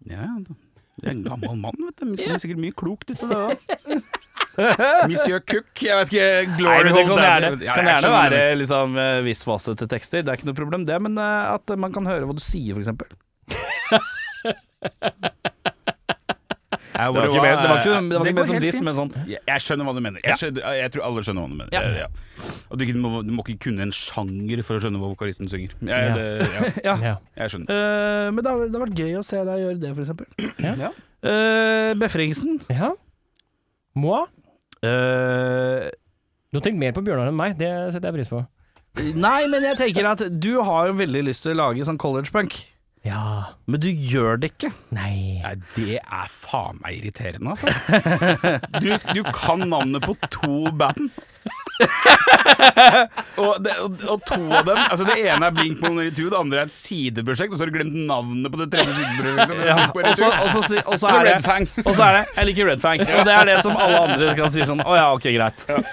Speaker 3: Ja, da. det er en gammel mann, vet du. Men Det kommer sikkert mye klokt ut av det. da. Monsieur Cook, jeg vet ikke
Speaker 2: Nei, men
Speaker 3: Glory
Speaker 2: det
Speaker 3: Hole,
Speaker 2: kan
Speaker 3: er-
Speaker 2: gjerne,
Speaker 3: Ja,
Speaker 2: kan
Speaker 3: jeg
Speaker 2: gjerne
Speaker 3: skjønner
Speaker 2: være
Speaker 3: det.
Speaker 2: liksom eh, vissfasete tekster, det er ikke noe problem det, men eh, at man kan høre hva du sier, for eksempel.
Speaker 3: Ja,
Speaker 2: Det var ikke ment- det var ikke- det var ikke
Speaker 3: går
Speaker 2: ment som
Speaker 3: helt
Speaker 2: diss,
Speaker 3: fint.
Speaker 2: men sånn
Speaker 3: Jeg, jeg skjønner hva du mener. Jeg, skjønner, jeg tror alle skjønner hva du mener.
Speaker 2: Ja.
Speaker 3: Ja. Og du, ikke- du må, du må ikke kunne en sjanger for å skjønne hva vokalisten synger. Jeg,
Speaker 4: Ja.
Speaker 3: det, ja,
Speaker 2: Ja.
Speaker 4: Ja.
Speaker 3: jeg skjønner.
Speaker 2: Eh, men det har, det har vært gøy å se deg gjøre det, for eksempel.
Speaker 3: Ja.
Speaker 2: Eh, Befringsen.
Speaker 4: ja. Moi?
Speaker 2: Eh,
Speaker 4: Du har tenkt mer på Bjørnar enn meg, det setter jeg pris på.
Speaker 2: nei, men jeg tenker at du har jo veldig lyst til å lage sånn college-punk,
Speaker 4: Ja.
Speaker 2: men du gjør det ikke.
Speaker 4: Nei.
Speaker 3: Nei, det er faen meg irriterende, altså. Du, du kan navnet på to band. og, det, og, og to av dem Altså Det ene er Blink 182, det andre er et sideprosjekt, og så har du glemt navnet på det tredje sideprosjektet. Det er Blink
Speaker 2: Og så
Speaker 3: 182.
Speaker 2: og så si- og så
Speaker 3: Det
Speaker 2: er
Speaker 3: er
Speaker 2: det
Speaker 3: Red Fang.
Speaker 2: Og så er det 'jeg liker Red Fang', og det er det som alle andre kan si sånn 'å ja, ok, greit'.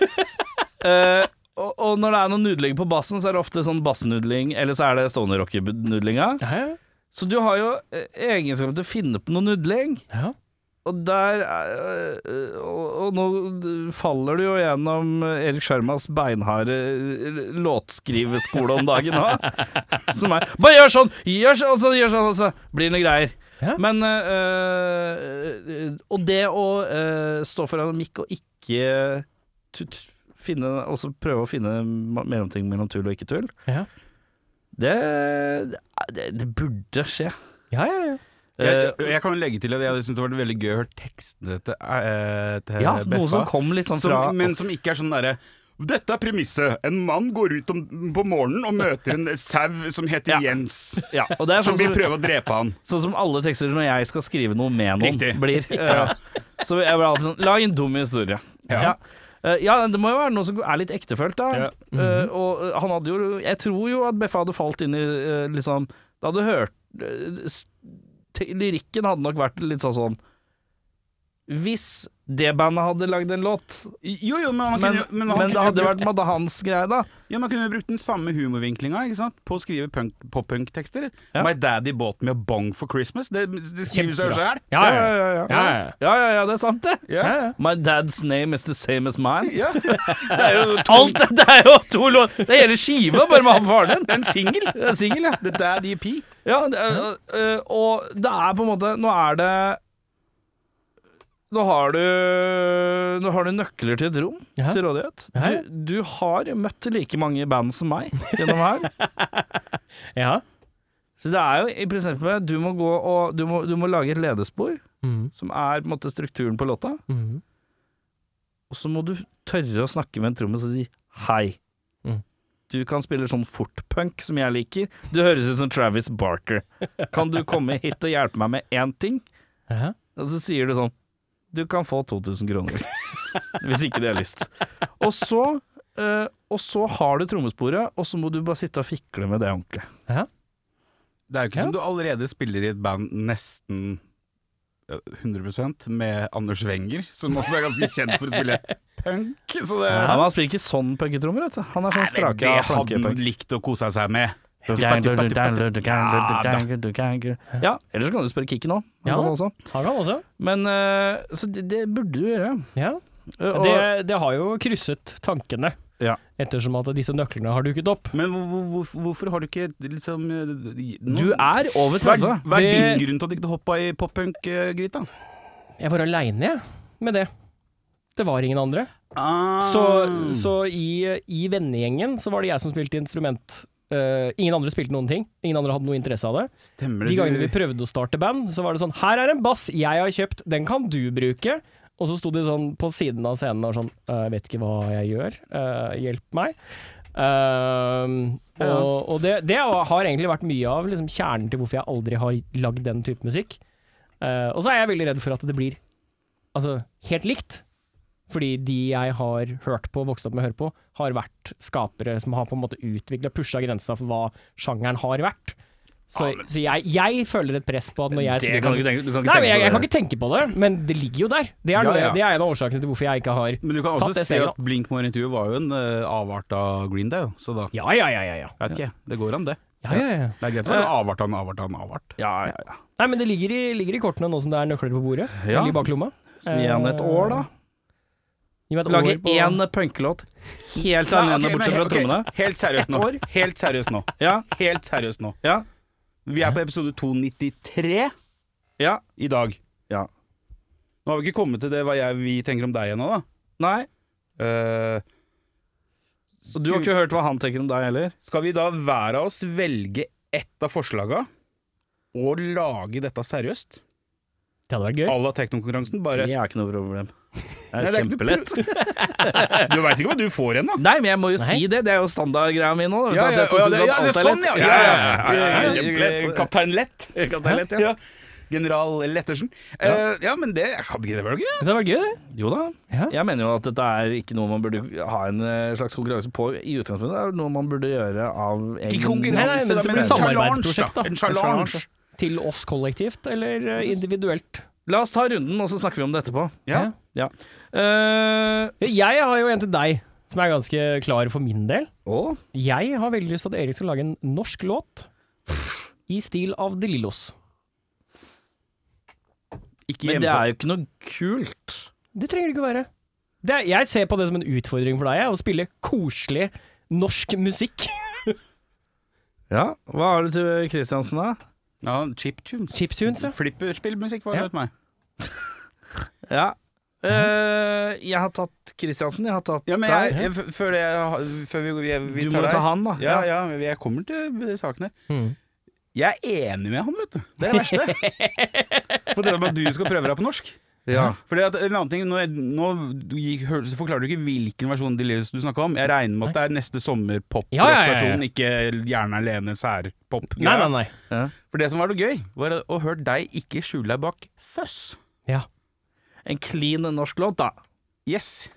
Speaker 2: Eh, og, og når det er noe nudling på bassen, så er det ofte sånn bassnudling, eller så er det stående rocker-nudlinga.
Speaker 4: Ja, ja.
Speaker 2: Så du har jo eh, egenskapen til å finne på noe nudling,
Speaker 4: ja.
Speaker 2: og der er- eh, og, og nå faller du jo gjennom Erik Sjarmas beinharde eh, låtskriveskole om dagen òg, som er 'bare gjør sånn, gjør sånn', og så gjør sånn, og så blir det noe greier.
Speaker 4: Ja.
Speaker 2: Men eh, eh, Og det å eh, stå foran en mikk og ikke tut, finne Også prøve å finne ma- mellomting mellom tull og ikke tull,
Speaker 4: Ja.
Speaker 2: det, det, det burde skje.
Speaker 4: Ja, ja, ja.
Speaker 2: Eh,
Speaker 3: Jeg, jeg kan jo legge til at jeg syns det var veldig gøy å høre tekstene til, eh, til
Speaker 2: ja,
Speaker 3: Beffa.
Speaker 2: noe som kom litt sånn
Speaker 3: som,
Speaker 2: fra
Speaker 3: men som ikke er sånn derre dette er premisset. En mann går ut om, på morgenen og møter en sau som heter Jens,
Speaker 2: ja, og det er
Speaker 3: som
Speaker 2: sånn
Speaker 3: vil
Speaker 2: som,
Speaker 3: prøve å drepe han.
Speaker 2: sånn som alle tekster når jeg skal skrive noe med noen,
Speaker 3: Riktig.
Speaker 2: blir. Eh, Så jeg blir alltid sånn Lag en dum historie.
Speaker 3: Ja.
Speaker 2: Ja. Eh, ja, det må jo være noe som er litt ektefølt, da.
Speaker 3: Ja.
Speaker 2: Eh, og eh, han hadde jo Jeg tror jo at Beffa hadde falt inn i eh, liksom Da hadde hørt eh, s- te- Lyrikken hadde nok vært litt sånn sånn Hvis det bandet hadde lagd en låt,
Speaker 3: Jo, jo, men, han
Speaker 2: men,
Speaker 3: kunne,
Speaker 2: men,
Speaker 3: han
Speaker 2: det
Speaker 3: kunne
Speaker 2: hadde
Speaker 3: brukt,
Speaker 2: vært Madde Hans greie, da.
Speaker 3: ja, Man kunne brukt den samme humorvinklinga ikke sant? på å skrive punk- pop-punk-tekster.
Speaker 2: Ja.
Speaker 3: My daddy bought me a bong for Christmas. Det, det skriver seg
Speaker 4: Kjempebra.
Speaker 3: sjøl.
Speaker 4: Ja, ja, ja.
Speaker 2: ja, ja.
Speaker 4: Ja, ja.
Speaker 2: Ja, ja, ja, det er sant, det.
Speaker 3: Ja.
Speaker 2: My dad's name is the same as mine.
Speaker 3: Ja. Det er jo to,
Speaker 2: Alt Det er jo to låt Det er hele skiva, bare med han faren din.
Speaker 3: det er en singel.
Speaker 2: Det er singel, ja.
Speaker 3: The Daddy P.
Speaker 2: Ja, det er, øh, øh, og det er på en måte Nå er det Nå har du Nå har du nøkler til et rom
Speaker 4: Ja.
Speaker 2: til rådighet.
Speaker 4: Ja.
Speaker 2: Du, du har møtt like mange band som meg gjennom her.
Speaker 4: ja.
Speaker 2: Så det er jo i prinsippet Du må gå og du må, du må lage et ledespor,
Speaker 4: Mhm,
Speaker 2: som er på en måte strukturen på låta.
Speaker 4: mhm.
Speaker 2: Og så må du tørre å snakke med en trommis og si hei.
Speaker 4: Mm.
Speaker 2: Du kan spille sånn fortpunk som jeg liker. Du høres ut som Travis Barker. Kan du komme hit og hjelpe meg med én ting?
Speaker 4: Ja.
Speaker 2: Og så sier du sånn Du kan få 2000 kroner. Hvis ikke de har lyst. Og så, eh, og så har du trommesporet, og så må du bare sitte og fikle med det ordentlig.
Speaker 3: Det er jo ikke som du allerede spiller i et band nesten ja, 100 med Anders Wenger, som også er ganske kjent for å spille punk. Så det,
Speaker 2: Ja, men han spiller ikke sånn punketrommer, vet du. Han er sånn
Speaker 3: Nei,
Speaker 2: strake
Speaker 3: det
Speaker 2: av
Speaker 3: hadde
Speaker 2: plankepunk.
Speaker 3: han likt å kose seg med.
Speaker 2: Ja, eller så kan du spørre Kikken òg.
Speaker 4: Ja. Har han også?
Speaker 2: Men eh, Så det, det burde du gjøre.
Speaker 4: Ja.
Speaker 2: Eh, og-
Speaker 4: Det, det har jo krysset tankene,
Speaker 2: Ja.
Speaker 4: ettersom at disse nøklene har dukket opp.
Speaker 3: Men hvor, hvor, hvor- hvorfor har du ikke liksom eh, nå-
Speaker 2: Du er altså, over
Speaker 3: hva, er-
Speaker 2: 30.
Speaker 3: hva er
Speaker 4: Det-
Speaker 3: din grunn til at du ikke hoppa i eh, poppunk-gryta?
Speaker 4: Jeg var aleine med det. Det var ingen andre.
Speaker 3: Ah.
Speaker 4: Så, så i, i vennegjengen så var det jeg som spilte instrument. Eh, ingen andre spilte noen ting. Ingen andre hadde noe interesse av det.
Speaker 3: Stemmer
Speaker 4: De
Speaker 3: det.
Speaker 4: gangene
Speaker 3: du-
Speaker 4: vi prøvde å starte band, så var det sånn Her er en bass jeg har kjøpt, den kan du bruke. Og så sto de sånn på siden av scenen og sånn «Eh, Jeg vet ikke hva jeg gjør. eh, hjelp meg. Eh, og og det, det har egentlig vært mye av liksom, kjernen til hvorfor jeg aldri har lagd den type musikk. Eh, og så er jeg veldig redd for at det blir altså, helt likt. Fordi de jeg har hørt på, vokst opp med å høre på, har vært skapere som har på en måte utvikla, pusha grensa for hva sjangeren har vært. Så, så jeg, jeg føler et press på at når jeg skriver
Speaker 2: tenke, du
Speaker 4: Nei, men jeg, jeg kan ikke tenke på det, men det ligger jo der. Det er,
Speaker 3: Ja,
Speaker 4: noe,
Speaker 3: ja.
Speaker 4: det er en av årsakene til hvorfor jeg ikke har
Speaker 3: Men du kan
Speaker 4: Tatt
Speaker 3: også
Speaker 4: det
Speaker 3: se
Speaker 4: selv,
Speaker 3: at Blinkmore-intervjuet var jo en eh, avart av Green Day, da. så da
Speaker 4: Ja, ja, ja, ja. ja.
Speaker 3: vet ikke jeg. Det går an, det.
Speaker 4: ja, ja, ja.
Speaker 3: Det er greit å være avart av en avart av en avart.
Speaker 2: Ja, ja, ja.
Speaker 4: Nei, men det ligger i, ligger i kortene nå som det er nøkler på bordet.
Speaker 2: Ja.
Speaker 4: Eller i baklomma.
Speaker 2: Så gi han et år, da.
Speaker 4: Gi meg et
Speaker 2: Lage
Speaker 4: år på-
Speaker 2: Eh, én punkelåt helt
Speaker 3: Nei,
Speaker 2: alene,
Speaker 3: ok,
Speaker 2: bortsett
Speaker 3: men-
Speaker 2: fra
Speaker 3: ok,
Speaker 2: trommene.
Speaker 3: Helt seriøst nå.
Speaker 2: Ett
Speaker 3: Helt seriøst nå.
Speaker 2: Ja,
Speaker 3: Helt seriøst nå.
Speaker 2: ja,
Speaker 3: Vi er på episode 293
Speaker 2: ja.
Speaker 3: i dag.
Speaker 2: Ja.
Speaker 3: Nå har vi ikke kommet til det hva jeg, vi tenker om deg ennå, da.
Speaker 2: Nei.
Speaker 3: Eh,
Speaker 2: Og du har ikke hørt hva han tenker om deg heller?
Speaker 3: skal vi da hver av oss velge ett av forslaga og lage dette seriøst?
Speaker 4: Det hadde vært gøy.
Speaker 3: À la Teknokonkurransen, bare
Speaker 2: Det er ikke noe problem. Det
Speaker 3: Nei,
Speaker 2: er
Speaker 3: det er ikke noe
Speaker 2: kjempelett.
Speaker 3: Du veit ikke hva du får igjen, da.
Speaker 2: Nei, men jeg må jo
Speaker 4: Nei.
Speaker 2: si det. Det er jo standardgreia mi nå. vet du,
Speaker 3: Ja,
Speaker 2: at
Speaker 3: ja,
Speaker 2: jeg synes
Speaker 3: ja, det-
Speaker 2: at
Speaker 3: ja,
Speaker 2: alt
Speaker 3: det er
Speaker 2: er lett.
Speaker 3: sånn, ja.
Speaker 2: Ja, ja, ja, ja, ja,
Speaker 3: Ja, Eh,
Speaker 2: kjempelett.
Speaker 3: Kaptein Lett.
Speaker 2: Ikke at det er lett, ja.
Speaker 3: Ja. General Lettersen. Eh, ja, men det hadde ikke det vært gøy?
Speaker 4: Det hadde vært gøy, det.
Speaker 2: Jo da.
Speaker 4: Ja.
Speaker 2: Jeg mener jo at dette er ikke noe man burde ha en eh, slags konkurranse på i utgangspunktet. Det er jo noe man burde gjøre av
Speaker 3: Ikke
Speaker 4: Nei,
Speaker 3: konkurranse,
Speaker 4: nei, men
Speaker 3: da,
Speaker 4: det blir
Speaker 3: en challenge,
Speaker 4: samarbeidsprosjekt, da.
Speaker 3: En challenge.
Speaker 4: Til oss kollektivt, eller eh, individuelt.
Speaker 2: La oss ta runden, og så snakker vi om det etterpå.
Speaker 3: Ja.
Speaker 2: Ja. Eh,
Speaker 4: Jeg har jo en til deg, som er ganske klar for min del.
Speaker 2: å,
Speaker 4: Jeg har veldig lyst til at Erik skal lage en norsk låt i stil av De Lillos.
Speaker 3: Ikke
Speaker 2: men det
Speaker 3: hjemmefra.
Speaker 2: er jo ikke noe kult.
Speaker 4: Det trenger det ikke å være. Det er, jeg ser på det som en utfordring for deg, jeg, å spille koselig norsk musikk.
Speaker 2: Ja, Hva har du til Kristiansen, da?
Speaker 3: Ja, chiptunes.
Speaker 4: Chiptunes, ja.
Speaker 3: Flipperspillmusikk var
Speaker 4: Ja.
Speaker 3: det for meg.
Speaker 2: Ja. Eh, jeg har tatt Kristiansen. Jeg har tatt
Speaker 3: Ja, men
Speaker 2: deg.
Speaker 3: jeg, jeg, f- før, jeg, før vi, vi, vi
Speaker 2: Du må
Speaker 3: tar deg-
Speaker 2: ta han, da.
Speaker 3: Ja, ja, jeg kommer til saken her.
Speaker 4: Mm.
Speaker 3: Jeg er enig med han, vet du. Det er det verste. På det med at du skal prøve deg på norsk.
Speaker 2: Ja.
Speaker 3: Fordi at en annen ting, Nå, nå du gikk, hør- så forklarer du ikke hvilken versjon de Lillos du snakka om. Jeg regner med at det er neste sommer pop
Speaker 4: Ja, ja, ja, ja.
Speaker 3: versjon ikke Gjerne alene særpop.
Speaker 4: Nei, nei, nei.
Speaker 3: For det som var noe gøy, var å høre deg ikke skjule deg bak føss.
Speaker 4: Ja.
Speaker 2: En clean norsk låt, da.
Speaker 3: Yes.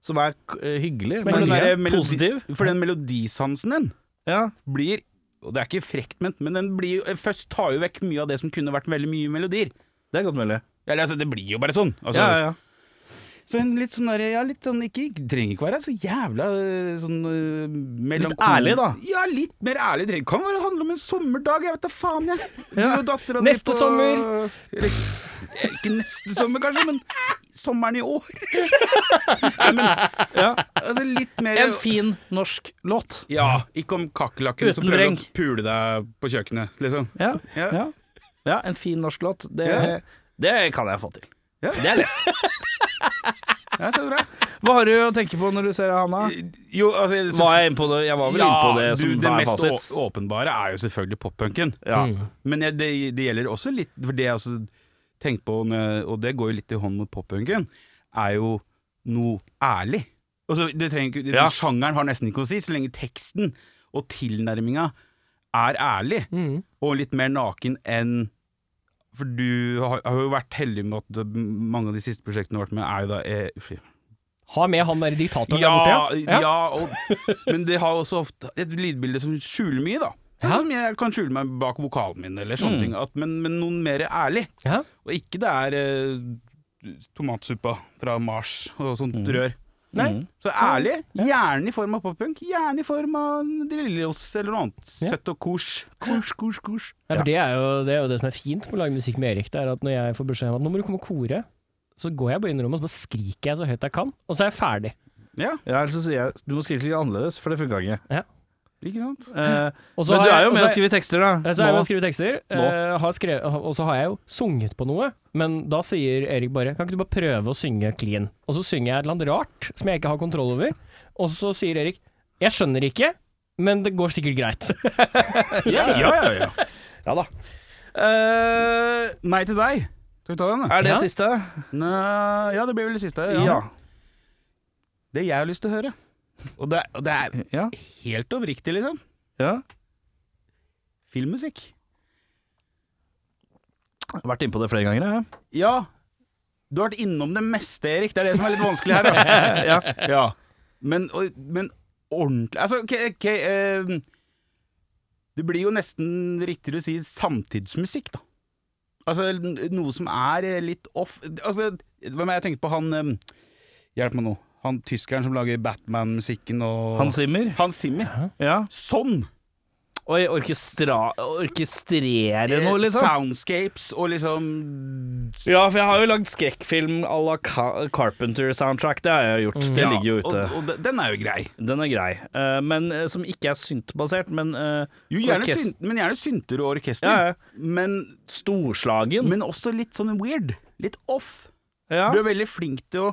Speaker 2: Som er eh, hyggelig,
Speaker 3: For den der
Speaker 2: men
Speaker 3: melodi-
Speaker 2: positiv.
Speaker 3: For den melodisansen din
Speaker 2: Ja.
Speaker 3: blir Og det er ikke frekt ment, men den blir jo Føss tar jo vekk mye av det som kunne vært veldig mye melodier.
Speaker 2: Det er godt mulig.
Speaker 3: Eller altså, det blir jo bare sånn. Altså,
Speaker 2: Ja, ja, ja.
Speaker 3: Så en litt sånn der, ja, litt sånn ikke, ikke- trenger ikke være så jævla øh, sånn øh, melankol-
Speaker 2: ærlig, da.
Speaker 3: Ja, litt mer ærlig. Det kan være handle om en sommerdag, jeg vet da faen, jeg. Du
Speaker 2: Ja.
Speaker 3: og dattera
Speaker 4: Neste sommer.
Speaker 3: Eller, eh, ikke neste sommer, kanskje, men sommeren i år. Nei, men
Speaker 2: Ja.
Speaker 3: altså, litt mer
Speaker 2: En fin norsk låt.
Speaker 3: Ja, ikke om kakerlakken som
Speaker 2: Uten
Speaker 3: prøver
Speaker 2: vreng.
Speaker 3: å pule deg på kjøkkenet, liksom.
Speaker 2: Ja.
Speaker 3: Ja.
Speaker 2: Ja. ja, en fin norsk låt. Det,
Speaker 3: Ja.
Speaker 2: det kan jeg få til.
Speaker 3: Ja.
Speaker 2: Det er lett.
Speaker 3: Ja, så bra.
Speaker 2: Hva har du å tenke på når du ser Hanna?
Speaker 3: Jo, altså så-
Speaker 2: Var jeg inne på det? Jeg var vel inne på det som
Speaker 3: du, det
Speaker 2: er
Speaker 3: mest
Speaker 2: fasit.
Speaker 3: å- åpenbare er jo selvfølgelig poppunken.
Speaker 2: Ja.
Speaker 4: Mm.
Speaker 3: Men jeg, det, det gjelder også litt For det jeg også tenkte på, når jeg- og det går jo litt i hånd mot popunken, er jo noe ærlig. Altså, det trenger ikke,
Speaker 2: Ja.
Speaker 3: Sjangeren har nesten ikke å si, så lenge teksten og tilnærminga er ærlig
Speaker 4: Mm.
Speaker 3: og litt mer naken enn For du har, har jo vært heldig med at mange av de siste prosjektene du har vært med, er jo da eh,
Speaker 4: Ha med han der diktatoren
Speaker 3: ja,
Speaker 4: der borte,
Speaker 3: ja.
Speaker 4: ja. ja.
Speaker 3: og, men det har også ofte et lydbilde som skjuler mye, da. Sånn
Speaker 4: Ja.
Speaker 3: Som jeg kan skjule meg bak vokalen min, eller sånne
Speaker 2: Mm.
Speaker 3: ting. At, men, men noen mer ærlig.
Speaker 4: Ja.
Speaker 3: Og ikke det er eh, tomatsuppa fra Mars og sånt rør.
Speaker 4: Nei.
Speaker 2: Mm.
Speaker 3: Så ærlig, gjerne i form av poppunk, gjerne i form av De Lillos eller noe annet.
Speaker 4: Ja.
Speaker 3: Søtt og kos. Kos, kos, kos.
Speaker 4: Nei, for det er, jo, det er jo det som er fint med å lage musikk med Erik, det er at når jeg får beskjed om at nå må du komme og kore, så går jeg bare inn i rommet og så bare skriker jeg så høyt jeg kan, og så er jeg ferdig.
Speaker 3: Ja,
Speaker 2: Ja, ellers så sier jeg du må skrive litt annerledes, for det funka ikke.
Speaker 3: ikke sant?
Speaker 2: Eh,
Speaker 4: Og så
Speaker 2: men
Speaker 4: har
Speaker 2: du er
Speaker 4: jeg-
Speaker 2: jo
Speaker 4: og
Speaker 2: med
Speaker 4: så
Speaker 2: å
Speaker 4: er-
Speaker 2: skrive tekster, da.
Speaker 4: Ja, Så har jeg
Speaker 2: Nå.
Speaker 4: jo skrevet tekster, eh, har skrevet, og så har jeg jo sunget på noe, men da sier Erik bare Kan ikke du bare prøve å synge clean? Og så synger jeg et eller annet rart som jeg ikke har kontroll over, og så sier Erik Jeg skjønner ikke, men det går sikkert greit.
Speaker 3: Ja, ja, ja. ja.
Speaker 2: Ja da. Eh,
Speaker 3: Nei til deg. Skal vi ta den, da?
Speaker 2: er det
Speaker 4: Ja.
Speaker 2: siste?
Speaker 3: Nei, ja, det blir vel det siste. Ja. Det jeg har lyst til å høre. Og det, og det er
Speaker 2: Ja.
Speaker 3: helt oppriktig, liksom.
Speaker 2: ja.
Speaker 3: Filmmusikk.
Speaker 2: Vært innpå det flere ganger, jeg.
Speaker 3: Ja. Du har vært innom det meste, Erik. Det er det som er litt vanskelig her. Da. ja. ja. Men, og, men ordentlig Altså, ok, ok, eh, Det blir jo nesten riktigere å si samtidsmusikk, da. Altså n- noe som er eh, litt off Altså, hva med jeg tenker på han eh, Hjelp meg nå. Han tyskeren som lager Batman-musikken og
Speaker 2: Hans Zimmer.
Speaker 3: Hans Zimmer.
Speaker 2: Ja.
Speaker 3: Sånn!
Speaker 2: Og orkestra, orkestrere noe,
Speaker 3: Eh,
Speaker 2: liksom.
Speaker 3: Soundscapes og liksom
Speaker 2: Ja, for jeg har jo lagd skrekkfilm à la Ca- Carpenter-soundtrack. Det har jeg gjort. Det ligger jo ute.
Speaker 3: Mm. Og, og de- den er jo grei.
Speaker 2: Den er grei. Eh, men eh, som ikke er syntbasert, men eh,
Speaker 3: Jo, gjerne,
Speaker 2: orkest-
Speaker 3: syn, men gjerne synter og orkester.
Speaker 2: Ja, ja.
Speaker 3: Men,
Speaker 2: Storslagen.
Speaker 3: men også litt sånn weird. Litt off.
Speaker 2: ja.
Speaker 3: Du er veldig flink til å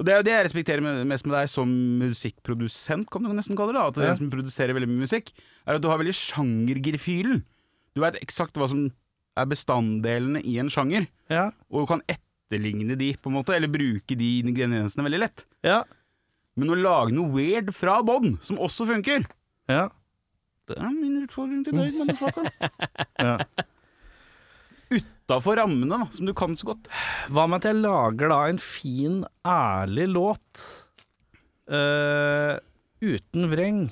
Speaker 3: og Det er jo det jeg respekterer med- mest med deg som musikkprodusent, kan du nesten kalle det. da, At det
Speaker 2: Ja.
Speaker 3: som produserer veldig mye musikk, er at du har veldig sjangergefühlen. Du veit eksakt hva som er bestanddelene i en sjanger,
Speaker 2: ja.
Speaker 3: og kan etterligne de, på en måte, eller bruke de ingrediensene veldig lett.
Speaker 2: ja.
Speaker 3: Men å lage noe weird fra bånn, som også funker,
Speaker 2: ja.
Speaker 3: det er min utfordring til deg, motherfucker.
Speaker 2: ja.
Speaker 3: Utafor rammene, da, som du kan så godt.
Speaker 2: Hva med at jeg lager da en fin, ærlig låt eh, uten vreng,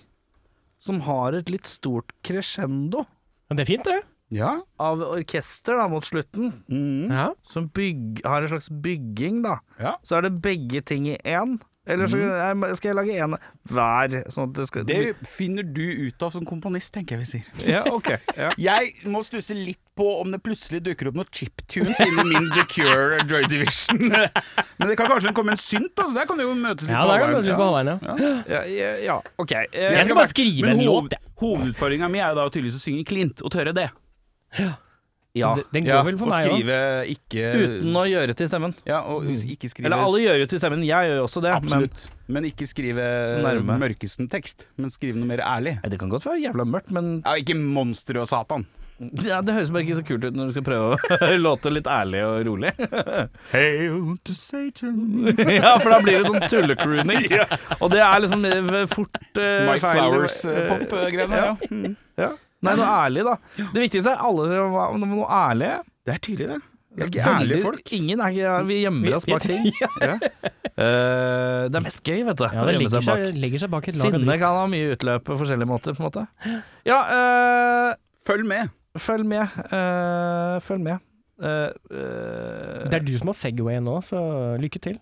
Speaker 2: som har et litt stort crescendo
Speaker 4: Men det er fint, det.
Speaker 3: Ja.
Speaker 2: av orkester da mot slutten,
Speaker 4: Ja.
Speaker 2: som bygg, har en slags bygging, da.
Speaker 3: Ja.
Speaker 2: Så er det begge ting i én. Eller så jeg- skal jeg lage én hver, sånn at det skal
Speaker 3: Det finner du ut av som komponist, tenker jeg vi sier.
Speaker 2: Ja, ok. Ja.
Speaker 3: Jeg må stusse litt på om det plutselig dukker opp noen chiptunes inni min The Cure Joy Division. Men det kan kanskje komme en synt, altså. Der kan du jo møtes litt
Speaker 4: Ja, der kan du møtes litt på
Speaker 3: Ja.
Speaker 4: halvveien, ja.
Speaker 2: Ja, ja, ja, ok. Eh,
Speaker 4: Jeg skal bare skrive
Speaker 3: Men
Speaker 4: en
Speaker 3: hoved-
Speaker 4: låt, jeg.
Speaker 3: Hovedutfordringa mi er jo da tydeligvis å synge klint og tørre det.
Speaker 2: ja.
Speaker 4: Den- Den går vel for
Speaker 3: og
Speaker 4: meg òg.
Speaker 3: skrive ikke
Speaker 2: Uten å gjøre til stemmen.
Speaker 3: Ja, og ikke skrive
Speaker 2: Eller alle gjør jo til stemmen, jeg gjør jo også det.
Speaker 3: Absolutt. Men, ikke skrive
Speaker 2: Så nærme.
Speaker 3: mørkesten tekst, men skrive noe mer ærlig.
Speaker 2: Men, det kan godt være jævla mørkt, men
Speaker 3: Ja, ikke monster og satan.
Speaker 2: Ja, Det høres bare ikke så kult ut når du skal prøve å låte litt ærlig og rolig.
Speaker 3: Hail to Satan.
Speaker 2: ja, for da blir det sånn tullecrooning. Og det er liksom eh, fort eh,
Speaker 3: Mike
Speaker 2: feil-
Speaker 3: eh. Flowers-pop-greiene.
Speaker 2: ja. Mm.
Speaker 3: Mm.
Speaker 2: Ja. Nei, noe ærlig, da. Det viktigste er alle dere var noe noe ærlige.
Speaker 3: Det er tydelig, det. Vi er
Speaker 2: Veldig- Ingen er ikke Vi gjemmer oss bak ting. Ja. Eh, det er mest gøy, vet du.
Speaker 4: Ja,
Speaker 2: å
Speaker 4: det
Speaker 2: gjemme
Speaker 4: legger
Speaker 2: seg bak.
Speaker 4: seg, legger seg bak et lag av
Speaker 2: Sinne
Speaker 4: dritt.
Speaker 2: kan ha mye utløp på forskjellige måter, på en måte. Ja, eh,
Speaker 3: Følg med.
Speaker 2: følg med. eh, følg med. Eh, eh,
Speaker 4: Det er du som har Segwayen nå, så lykke til.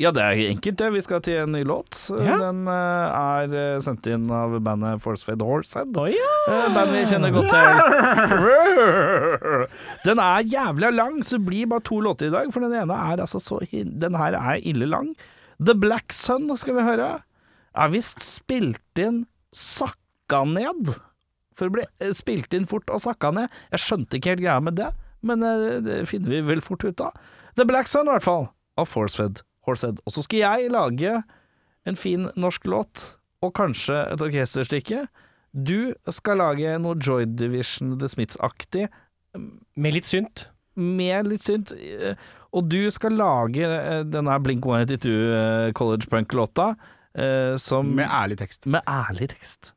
Speaker 2: Ja, det er enkelt det. Vi skal til en ny låt.
Speaker 4: Ja.
Speaker 2: Den eh, er eh, sendt inn av bandet Forcefed Horsehead.
Speaker 4: Å ja!
Speaker 2: Eh, band vi kjenner godt til. Den er jævla lang, så det blir bare to låter i dag. For den ene er altså så hin- Den her er ille lang. The Black Sun skal vi høre. Er visst spilt inn sakka ned. For det ble eh, spilt inn fort og sakka ned. Jeg skjønte ikke helt greia med det, men eh, det finner vi vel fort ut av. The Black Sun, i hvert fall, av Forcefed Horsehead. Og så skal jeg lage en fin norsk låt, og kanskje et orkesterstykke. Du skal lage noe Joy Division The Smiths-aktig,
Speaker 4: Med litt synt.
Speaker 2: med litt synt. eh, Og du skal lage eh, denne Blink 182 eh, College Punk-låta, eh, som
Speaker 3: Med ærlig tekst.
Speaker 2: med ærlig tekst.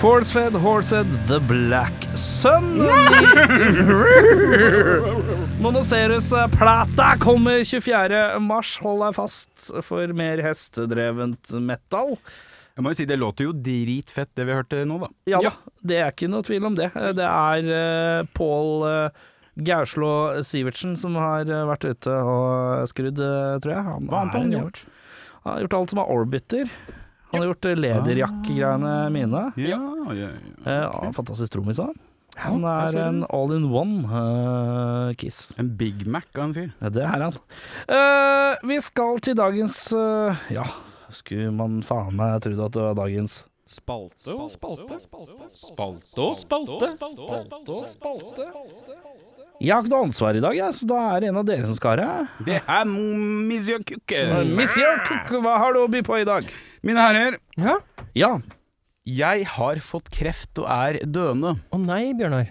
Speaker 2: Force-fed, horsed, the black sun. Monocerus-plata kommer 24. mars. Hold deg fast for mer hestedrevent metal.
Speaker 3: Jeg må jo si, det låter jo dritfett, det vi hørte nå, da.
Speaker 2: Ja,
Speaker 4: Ja.
Speaker 2: da, det er ikke noe tvil om det. Det er eh, Pål eh, Gauslå Sivertsen som har eh, vært ute og skrudd, eh, tror jeg. Han,
Speaker 3: Hva annet har han
Speaker 2: er jo-
Speaker 3: gjort?
Speaker 2: Han har gjort alt som er orbiter. Han har gjort eh, lederjakkegreiene mine.
Speaker 3: Ja, ja, ja.
Speaker 2: Eh, ja, fantastisk trommis, han. Han
Speaker 4: der ser
Speaker 2: er
Speaker 4: du.
Speaker 2: en all-in-one eh, kiss.
Speaker 3: En Big Mac av en fyr.
Speaker 2: Ja, det er han. Eh, vi skal til dagens eh, Ja, skulle man faen meg trodd at det var dagens
Speaker 6: Spalte og spalte.
Speaker 3: Spalte og spalte.
Speaker 2: Jeg har ikke noe ansvar i dag, jeg, så da er det en av dere som skal ha det.
Speaker 3: Det er mo- Monsieur
Speaker 2: Mm.
Speaker 3: Kukke.
Speaker 2: Monsieur Cook, hva har du å by på i dag?
Speaker 3: Mine herrer,
Speaker 4: Ja?
Speaker 2: Ja,
Speaker 3: jeg har fått kreft og er døende. Eh,
Speaker 4: Å nei, Bjørnar.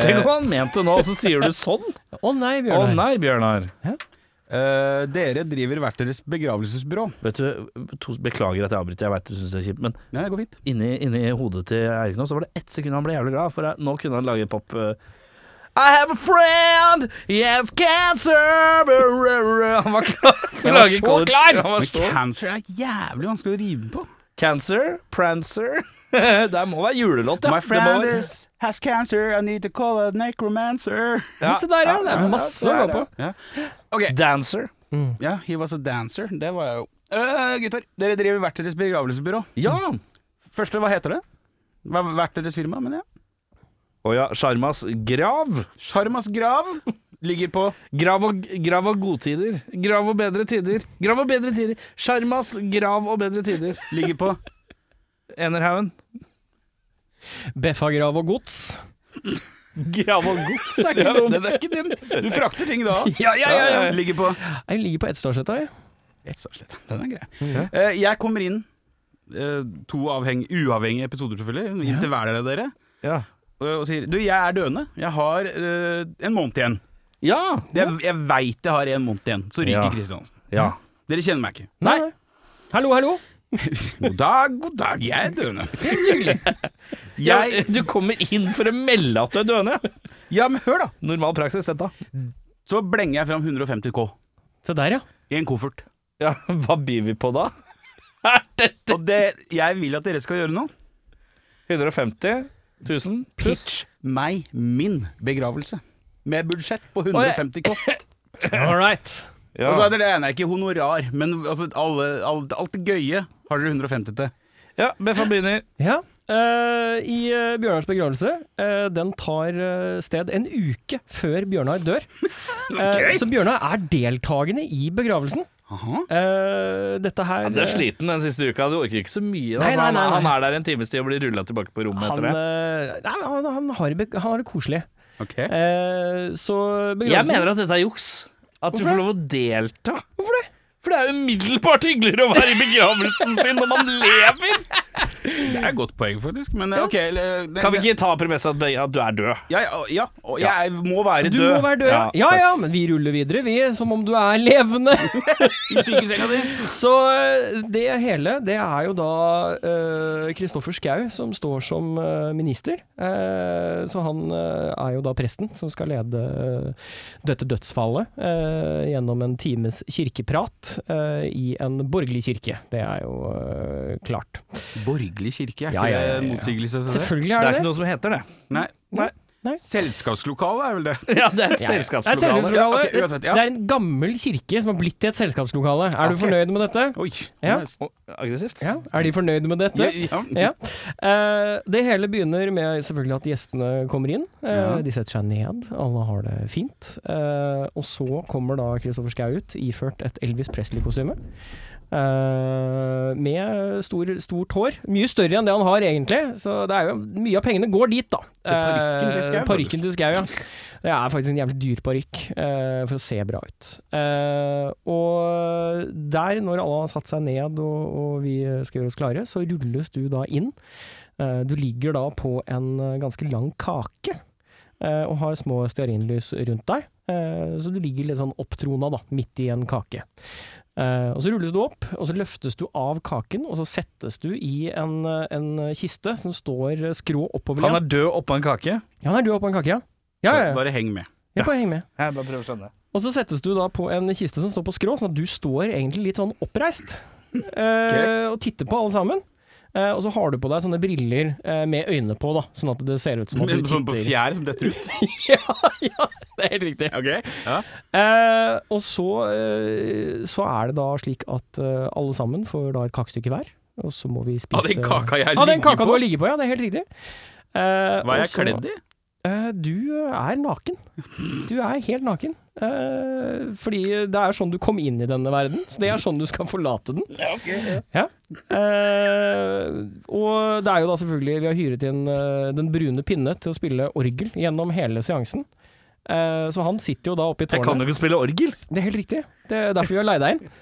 Speaker 2: tenk om han mente nå, så sier du sånn?
Speaker 4: Å nei,
Speaker 2: Eh, Å
Speaker 4: Bjørnar.
Speaker 2: nei, Bjørnar.
Speaker 3: Eh, dere driver hvert deres begravelsesbyrå.
Speaker 2: Vet du, to, Beklager at jeg avbryter, jeg veit du syns det er kjipt, men
Speaker 3: Nei, det går fint.
Speaker 2: inni, inni hodet til Eirik nå, så var det ett sekund han ble jævlig glad, for nå kunne han lage pop... eh, I have a friend, he has cancer brr, brr, brr. Han var klar for å lage
Speaker 4: så
Speaker 2: college-
Speaker 4: klar!
Speaker 2: Han var
Speaker 3: Men
Speaker 2: så
Speaker 3: cancer er jævlig vanskelig å rime på.
Speaker 2: Cancer, Prancer Det må være julelåt, ja.
Speaker 3: My
Speaker 2: Det må
Speaker 3: friend
Speaker 2: være-
Speaker 3: is, has cancer, I need to call a necromancer.
Speaker 2: Ja,
Speaker 4: Se der, ja. Det
Speaker 2: ja,
Speaker 4: er masse
Speaker 2: det
Speaker 4: å
Speaker 2: er
Speaker 4: gå på.
Speaker 3: Ok,
Speaker 2: Dancer.
Speaker 3: ja, he was a dancer. Det var jeg jo. Eh, gutter, dere driver hvert deres begravelsesbyrå.
Speaker 2: Ja!
Speaker 3: Første, hva heter det? Hva, hvert deres firma, mener jeg.
Speaker 2: Å ja, Sjarmas grav.
Speaker 3: Sjarmas grav ligger på
Speaker 2: Grav og, grav og godtider. Grav og bedre tider. Grav og bedre tider. Sjarmas grav og bedre tider.
Speaker 3: Ligger på
Speaker 2: Enerhaugen.
Speaker 4: Beffagrav og gods.
Speaker 2: Grav og gods er
Speaker 3: Ja,
Speaker 2: ikke dum.
Speaker 3: den er ikke din. Du frakter ting da.
Speaker 2: Ja, ja, ja, ja.
Speaker 3: Ligger på
Speaker 4: Jeg ligger på Etstadsletta, jeg.
Speaker 3: Etsaslett. Den er grei. Eh, jeg kommer inn, eh, to avheng, uavhengige episoder selvfølgelig, inn til hver av dere,
Speaker 2: Ja.
Speaker 3: eh, og sier Du, jeg er døende. Jeg har eh, en måned igjen.
Speaker 2: ja.
Speaker 3: Jeg, jeg veit jeg har en måned igjen. Så ryker
Speaker 2: Ja.
Speaker 3: Kristiansen.
Speaker 2: ja.
Speaker 3: Dere kjenner meg ikke.
Speaker 4: Nei. Hallo, hallo.
Speaker 3: God dag, god dag, jeg er døende. Jeg
Speaker 2: Du kommer inn for å melde at du er døende.
Speaker 3: Ja, men hør, da.
Speaker 2: Normal praksis, dette.
Speaker 3: Så blenger jeg fram 150 K
Speaker 4: Se der, ja.
Speaker 3: i en koffert.
Speaker 2: Ja, hva byr vi på da?
Speaker 3: Og det jeg vil at dere skal gjøre nå,
Speaker 2: 150 000 pluss.
Speaker 3: pitch meg min begravelse. Med budsjett på 150 K.
Speaker 4: All right.
Speaker 2: Ja.
Speaker 3: Og så er det det ene ikke honorar, men altså, alle, alt, alt det gøye har dere 150 til.
Speaker 2: ja, Beffa begynner.
Speaker 4: Ja. eh, I eh, Bjørnars begravelse, eh, den tar eh, sted en uke før Bjørnar dør. Eh, så Bjørnar er deltakende i begravelsen.
Speaker 3: Aha.
Speaker 4: Eh, dette her
Speaker 2: Du er sliten den siste uka, du orker ikke så mye. Da.
Speaker 4: Nei, nei,
Speaker 2: Så han-
Speaker 4: nei, nei.
Speaker 2: Han er der en times tid og blir rulla tilbake på rommet
Speaker 4: han,
Speaker 2: etter det.
Speaker 4: eh, nei, han, han, har, det bek- han har det koselig.
Speaker 3: Ok.
Speaker 4: Eh,
Speaker 2: Jeg
Speaker 4: så begravelsen
Speaker 2: mener at dette er juks. At du
Speaker 4: Hvorfor
Speaker 2: får lov å delta. Hvorfor det? For det er jo umiddelbart hyggeligere å være i begravelsen sin når man lever!
Speaker 3: Det er et godt poeng, faktisk. Men eh, ok eller- det,
Speaker 2: Kan vi ikke ta premisset at, be- at du er død?
Speaker 3: Ja, ja, ja og jeg må være
Speaker 4: Du
Speaker 3: død.
Speaker 4: må være død. Ja,
Speaker 2: Ja,
Speaker 4: ja, men vi ruller videre, vi, som om du er levende.
Speaker 3: I sykesenga di.
Speaker 4: Så eh, det hele, det er jo da eh, Kristoffer Schau som står som eh, minister. Eh, så han eh, er jo da presten som skal lede eh, dette dødsfallet eh, gjennom en times kirkeprat eh, i en borgerlig kirke. Det er jo eh, klart.
Speaker 3: Borgerlig kirke, er
Speaker 4: Ja,
Speaker 3: ikke
Speaker 4: ja, ja, ja,
Speaker 3: det
Speaker 4: ja.
Speaker 3: motsigelse? så det?
Speaker 4: Selvfølgelig
Speaker 2: Det
Speaker 4: er
Speaker 2: er ikke
Speaker 4: det det.
Speaker 2: noe som heter det.
Speaker 3: Nei.
Speaker 2: Nei.
Speaker 4: Nei.
Speaker 3: Selskapslokale er vel det.
Speaker 2: Ja, det er et
Speaker 4: Det er et
Speaker 2: selskapslokale.
Speaker 4: selskapslokale.
Speaker 3: Ja, ok, uansett, ja.
Speaker 4: Det er en gammel kirke som har blitt til et selskapslokale. Er du
Speaker 3: Ok.
Speaker 4: fornøyd med dette?
Speaker 3: Oi.
Speaker 4: Ja.
Speaker 3: nice.
Speaker 2: Å, Aggressivt.
Speaker 4: Ja, Er de fornøyd med dette?
Speaker 3: Ja, ja.
Speaker 4: Ja. Eh, det hele begynner med selvfølgelig at gjestene kommer inn. Eh,
Speaker 3: Ja.
Speaker 4: De setter seg ned, alle har det fint. Eh, og så kommer da Kristoffer Schau ut iført et Elvis Presley-kostyme. Eh, med stor, stort hår. Mye større enn det han har egentlig. Så det er jo, mye av pengene går dit, da.
Speaker 3: parykken til Schau,
Speaker 4: Eh, parykken til Schau, ja. Det er faktisk en jævlig dyr parykk eh, for å se bra ut. Eh, og der, når alle har satt seg ned og, og vi skal gjøre oss klare, så rulles du da inn. Eh, du ligger da på en eh, ganske lang kake eh, og har små stearinlys rundt deg. Eh, Så du ligger litt sånn opptrona, da, midt i en kake. Eh, og så rulles du opp, og så løftes du av kaken, og så settes du i en, eh, en kiste som står eh, skrå oppover.
Speaker 2: Han er
Speaker 4: lent.
Speaker 2: død oppå en kake.
Speaker 4: Ja, han er død oppå en kake, ja. Ja, ja, ja.
Speaker 3: Bare heng med.
Speaker 4: Jeg bare henger med.
Speaker 2: Jeg bare prøver å skjønne.
Speaker 4: Og så settes du da på en kiste som står på skrå, sånn at du står egentlig litt sånn oppreist eh, og titter på alle sammen. Eh, og så har du på deg sånne briller eh, med øyne på, da, sånn at det ser ut som at du
Speaker 3: Men Sånn på
Speaker 4: titter.
Speaker 3: fjær som detter ut.
Speaker 4: ja, ja, det er helt riktig.
Speaker 3: Ja.
Speaker 4: Eh, og så, eh, så er det da slik at eh, alle sammen får da et kakestykke hver, og så må vi spise
Speaker 3: Av den kaka jeg
Speaker 4: Ja, den
Speaker 3: ligger
Speaker 4: kaka du
Speaker 3: på.
Speaker 4: har ligget på, ja, det er helt riktig. Eh,
Speaker 3: Hva er
Speaker 4: og
Speaker 3: jeg
Speaker 4: så-
Speaker 3: kledd i?
Speaker 4: Eh, du er naken. Du er helt naken. Eh, fordi det er sånn du kom inn i denne verden, så det er sånn du skal forlate den. Ja. Eh, og det er jo da selvfølgelig Vi har hyret inn eh, Den brune pinne til å spille orgel gjennom hele seansen. Eh, så han sitter jo da oppe i
Speaker 2: Jeg kan jo
Speaker 4: tårnet.
Speaker 2: ikke spille orgel.
Speaker 4: Det er helt riktig. Det er derfor vi har leid deg inn.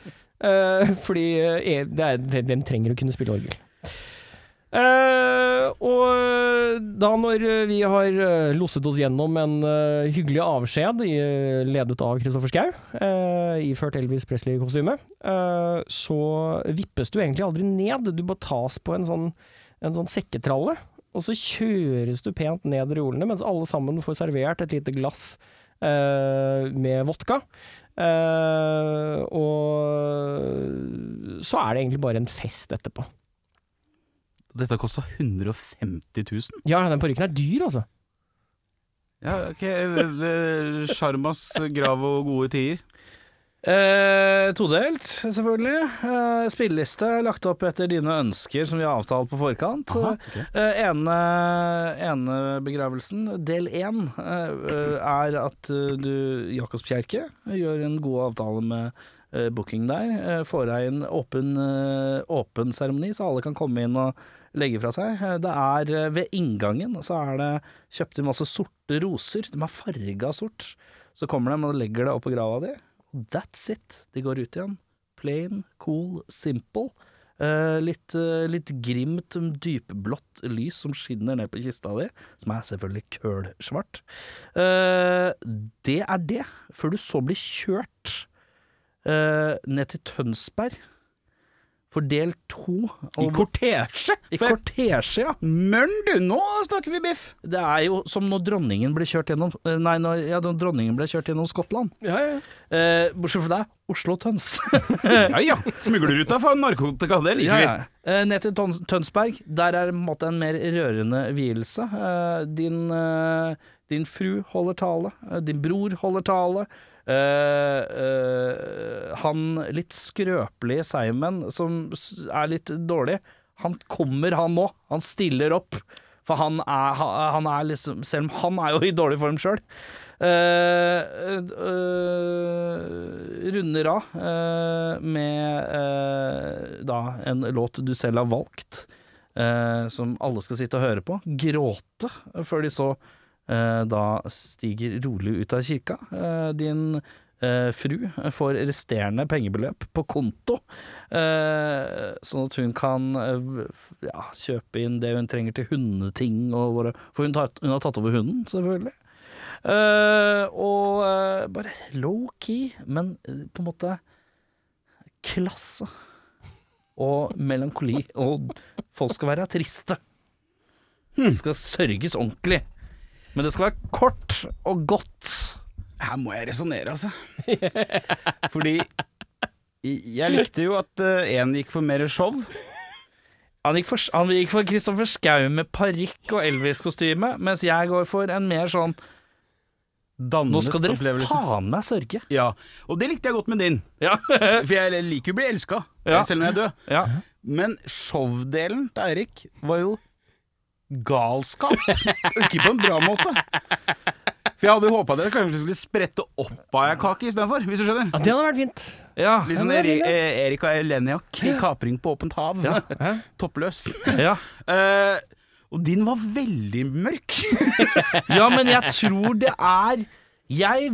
Speaker 4: Eh, fordi eh, det er, hvem trenger å kunne spille orgel? Eh, og da når vi har eh, losset oss gjennom en eh, hyggelig avskjed i, eh, ledet av Kristoffer Schau, eh, iført Elvis Presley-kostyme, eh, så vippes du egentlig aldri ned. Du bare tas på en sånn, en sånn sekketralle, og så kjøres du pent ned reolene, mens alle sammen får servert et lite glass eh, med vodka. Eh, og så er det egentlig bare en fest etterpå.
Speaker 3: Dette kosta 150 000.
Speaker 4: Ja, den parykken er dyr, altså.
Speaker 3: Ja, ok. eh, Sjarmas grav og gode tider.
Speaker 2: Eh, todelt, selvfølgelig. Eh, spilleliste lagt opp etter dine ønsker som vi har avtalt på forkant. eh, ene, ene begravelsen, del én, eh, eh, er at eh, du, Jakobs Kjerke, eh, gjør en god avtale med eh, booking der. Eh, får deg en åpen, eh, åpen seremoni, så alle kan komme inn og legge fra seg. Eh, det er eh, ved inngangen, så er det kjøpt inn masse sorte roser. De er farga sort. Så kommer de og legger det oppå grava di. That's it. De går ut igjen. Plain, cool, simple. Eh, litt, eh, litt grimt, mm, dypblått lys som skinner ned på kista di, som er selvfølgelig kølsvart. Eh, det er det, før du så blir kjørt eh, ned til Tønsberg. For del to
Speaker 3: I
Speaker 2: og-
Speaker 3: kortesje!
Speaker 2: I kortesje, ja.
Speaker 3: Mørn du, nå snakker vi biff!
Speaker 2: Det er jo som når dronningen ble kjørt gjennom eh, Nei, når, ja, når dronningen ble kjørt gjennom Skottland. Eh, bortsett fra deg, Oslo Tøns.
Speaker 4: Eh.
Speaker 3: Ja ja, smuglerruta for narkotika, det liker vi.
Speaker 2: Eh, Ned til Tøns- Tønsberg. Der er det på en måte en mer rørende vielse. Eh, Din, eh, din fru holder tale. Eh, Din bror holder tale. Eh, eh, han litt skrøpelige seigmenn som s- er litt dårlig, han kommer, han nå. Han stiller opp. For han er, ha- han er liksom Selv om han er jo i dårlig form sjøl. Eh, runder av eh, med eh, da en låt du selv har valgt, eh, som alle skal sitte og høre på. Gråte før de så eh, da stiger rolig ut av kirka. Eh, din eh, fru får resterende pengebeløp på konto, eh, sånn at hun kan eh, ja, kjøpe inn det hun trenger til hundeting, og våre, for hun, tar, hun har tatt over hunden, selvfølgelig. Eh, og eh, bare low-key, men eh, på en måte klasse. Og melankoli. Og folk skal være triste. Det skal sørges ordentlig. Men det skal være kort og godt.
Speaker 3: Her må jeg resonnere, altså.
Speaker 2: altså.
Speaker 3: Fordi jeg likte jo at én gikk for mer show.
Speaker 2: Han gikk for, han gikk for Kristoffer Schau med parykk og Elvis-kostyme, mens jeg går for en mer sånn
Speaker 3: Dannet
Speaker 2: Nå skal dere
Speaker 3: opplevelse.
Speaker 2: faen meg sørge.
Speaker 3: Ja, og det likte jeg godt med din.
Speaker 2: Ja.
Speaker 3: For jeg liker jo å bli elska,
Speaker 2: Ja.
Speaker 3: selv om jeg er død.
Speaker 2: ja.
Speaker 3: Men show-delen til Eirik var jo galskap. Ikke på en bra måte. For jeg hadde jo håpa dere kanskje skulle sprette opp av ei kake istedenfor, hvis du skjønner.
Speaker 4: Ja, det hadde vært fint.
Speaker 2: ja.
Speaker 3: Litt sånn Eri, eh, Erika Eleniak i 'Kapring på åpent hav'. Toppløs.
Speaker 2: ja.
Speaker 3: Eh, og din var veldig mørk.
Speaker 2: Ja, men jeg tror det er Jeg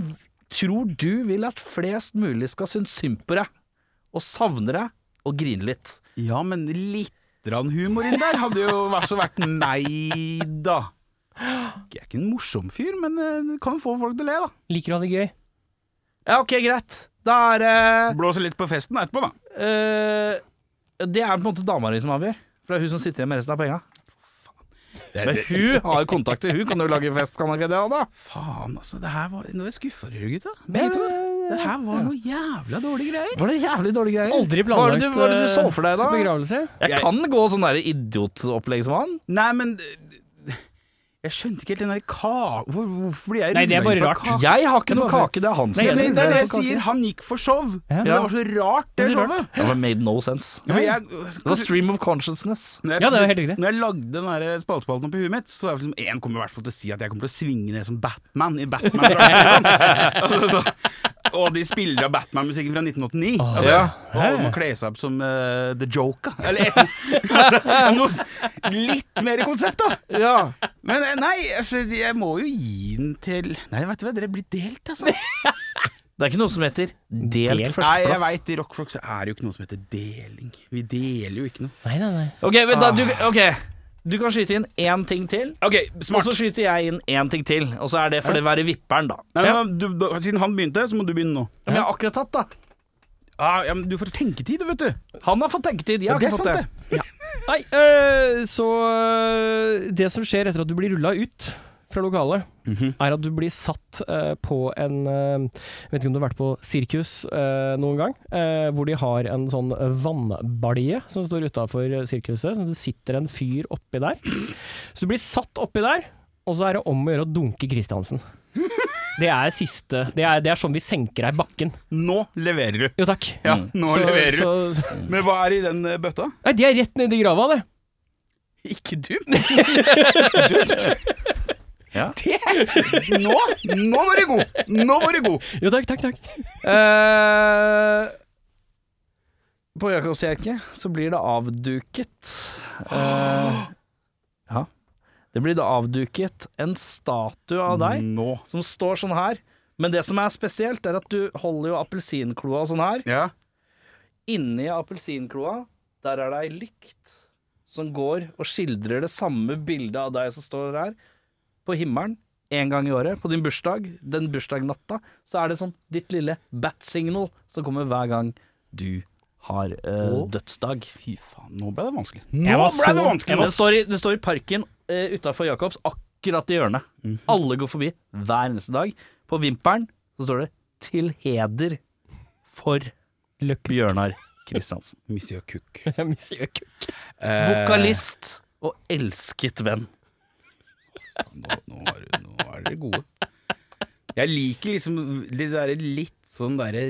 Speaker 2: tror du vil at flest mulig skal synes synd på deg, og savne deg og grine litt.
Speaker 3: Ja, men litt grann humor inn der hadde jo vært så vært meg, da. Jeg er ikke en morsom fyr, men eh, kan få folk til å le, da.
Speaker 4: Liker å ha det gøy.
Speaker 2: Ja, ok, greit. Da er det
Speaker 3: Blåser litt på festen etterpå, da.
Speaker 2: eh, Det er på en måte dama di som avgjør. For det er hun som sitter igjen med resten av penga. Men hun har jo kontakter, hun kan jo lage fest, kan hun ikke det, Anna?
Speaker 3: Faen, altså. Det her var Nå er jeg skuffa over dere, gutta. Begge to. Det her var noe jævla dårlige greier.
Speaker 2: Var det jævlig dårlige greier?
Speaker 4: Aldri
Speaker 2: Hva var det
Speaker 4: planlagt
Speaker 2: du- Hva var det du så for deg,
Speaker 4: eh,
Speaker 2: da?
Speaker 4: begravelse.
Speaker 2: Jeg kan gå sånn der idiotopplegg som han.
Speaker 3: Nei, men Jeg skjønte ikke helt den der ka... Hvor, hvorfor blir jeg
Speaker 4: Nei, det er
Speaker 3: rundet inn
Speaker 4: bare
Speaker 3: på ka-
Speaker 4: rart.
Speaker 2: Jeg har ikke
Speaker 4: Det er
Speaker 2: noe
Speaker 4: bare-
Speaker 2: kake, det er han
Speaker 3: Nei,
Speaker 2: sin.
Speaker 3: det, det er det jeg
Speaker 2: Kake.
Speaker 3: sier. Han gikk for show.
Speaker 4: Ja.
Speaker 3: Men det var så rart, det
Speaker 4: Det er rart.
Speaker 3: showet.
Speaker 2: Det var made no sense.
Speaker 3: Ja, men
Speaker 2: Det
Speaker 3: jeg,
Speaker 2: var stream of consciousness.
Speaker 3: når jeg,
Speaker 4: Ja, det er jo helt riktig.
Speaker 3: Når jeg lagde den der spaltespalten opp i huet mitt, så var jeg liksom, en kommer i hvert fall til å si at jeg kommer til å svinge ned som Batman i Batman. altså, så, og de spiller av Batman-musikken fra 1989. altså, Og må kle seg opp som eh, The Joker. Eller et, altså, noe s- litt mer konsept, da.
Speaker 2: Ja.
Speaker 3: Men eh, nei, altså, jeg må jo gi den til Nei, vet du hva, dere blir delt, altså.
Speaker 2: Det er ikke noe som heter delt,
Speaker 4: Delt.
Speaker 2: førsteplass.
Speaker 3: Nei, jeg veit i rockfolk så er det jo ikke noe som heter deling. Vi deler jo ikke noe.
Speaker 4: Nei, nei, nei.
Speaker 2: Ok, men da, du, ok. du kan skyte inn én ting til,
Speaker 3: Ok,
Speaker 2: og så skyter jeg inn én ting til. Og så er det for det å være vipperen, da.
Speaker 3: Nei, men, du, da, siden han begynte, så må du begynne nå.
Speaker 2: Men jeg har akkurat tatt, da.
Speaker 3: Ah, ja, men du får tenketid, du, vet du.
Speaker 2: Han har fått tenketid, jeg har
Speaker 3: det
Speaker 2: ikke
Speaker 3: er
Speaker 2: fått det.
Speaker 3: sant,
Speaker 4: Nei, øh, så øh, Det som skjer etter at du blir rulla ut fra lokalet, er at du blir satt øh, på en øh, Jeg vet ikke om du har vært på sirkus øh, noen gang, øh, hvor de har en sånn vannbalje som står utafor sirkuset, som det sitter en fyr oppi der. Så du blir satt oppi der, og så er det om å gjøre å dunke Kristiansen. Det er siste Det er, det er sånn vi senker deg i bakken.
Speaker 3: Nå leverer du.
Speaker 4: Jo takk.
Speaker 3: Ja, nå
Speaker 4: Så-
Speaker 3: leverer du.
Speaker 4: så,
Speaker 3: Men hva er i den eh, bøtta?
Speaker 4: Nei, de er rett nedi grava, det.
Speaker 3: Ikke dumt. dumt. Nå, nå var du god! Nå var du god.
Speaker 4: Jo takk, takk, takk.
Speaker 2: Eh, på Jakobskjerke så blir det avduket eh, Ja. Det blir da avduket en statue av deg
Speaker 3: Nå.
Speaker 2: som står sånn her. Men det som er spesielt, er at du holder jo appelsinkloa sånn her.
Speaker 3: Ja.
Speaker 2: Inni appelsinkloa, der er det ei lykt som går og skildrer det samme bildet av deg som står her, på himmelen. En gang i året, på din bursdag, den bursdagnatta, så er det som ditt lille bat-signal som kommer hver gang du har eh, dødsdag.
Speaker 3: Fy faen, nå ble det vanskelig. Nå ble det vanskelig.
Speaker 2: Det står i, det står i parken uh, utafor Jacobs, akkurat i hjørnet. Alle går forbi hver eneste dag. På vimpelen så står det 'Til heder for Bjørnar Kristiansen'.
Speaker 3: Monsieur Cook.
Speaker 4: Jeg misgjør ikke.
Speaker 2: Vokalist og elsket venn.
Speaker 3: Nå, nå, er, du- nå er dere gode. Jeg liker liksom de der litt sånn derre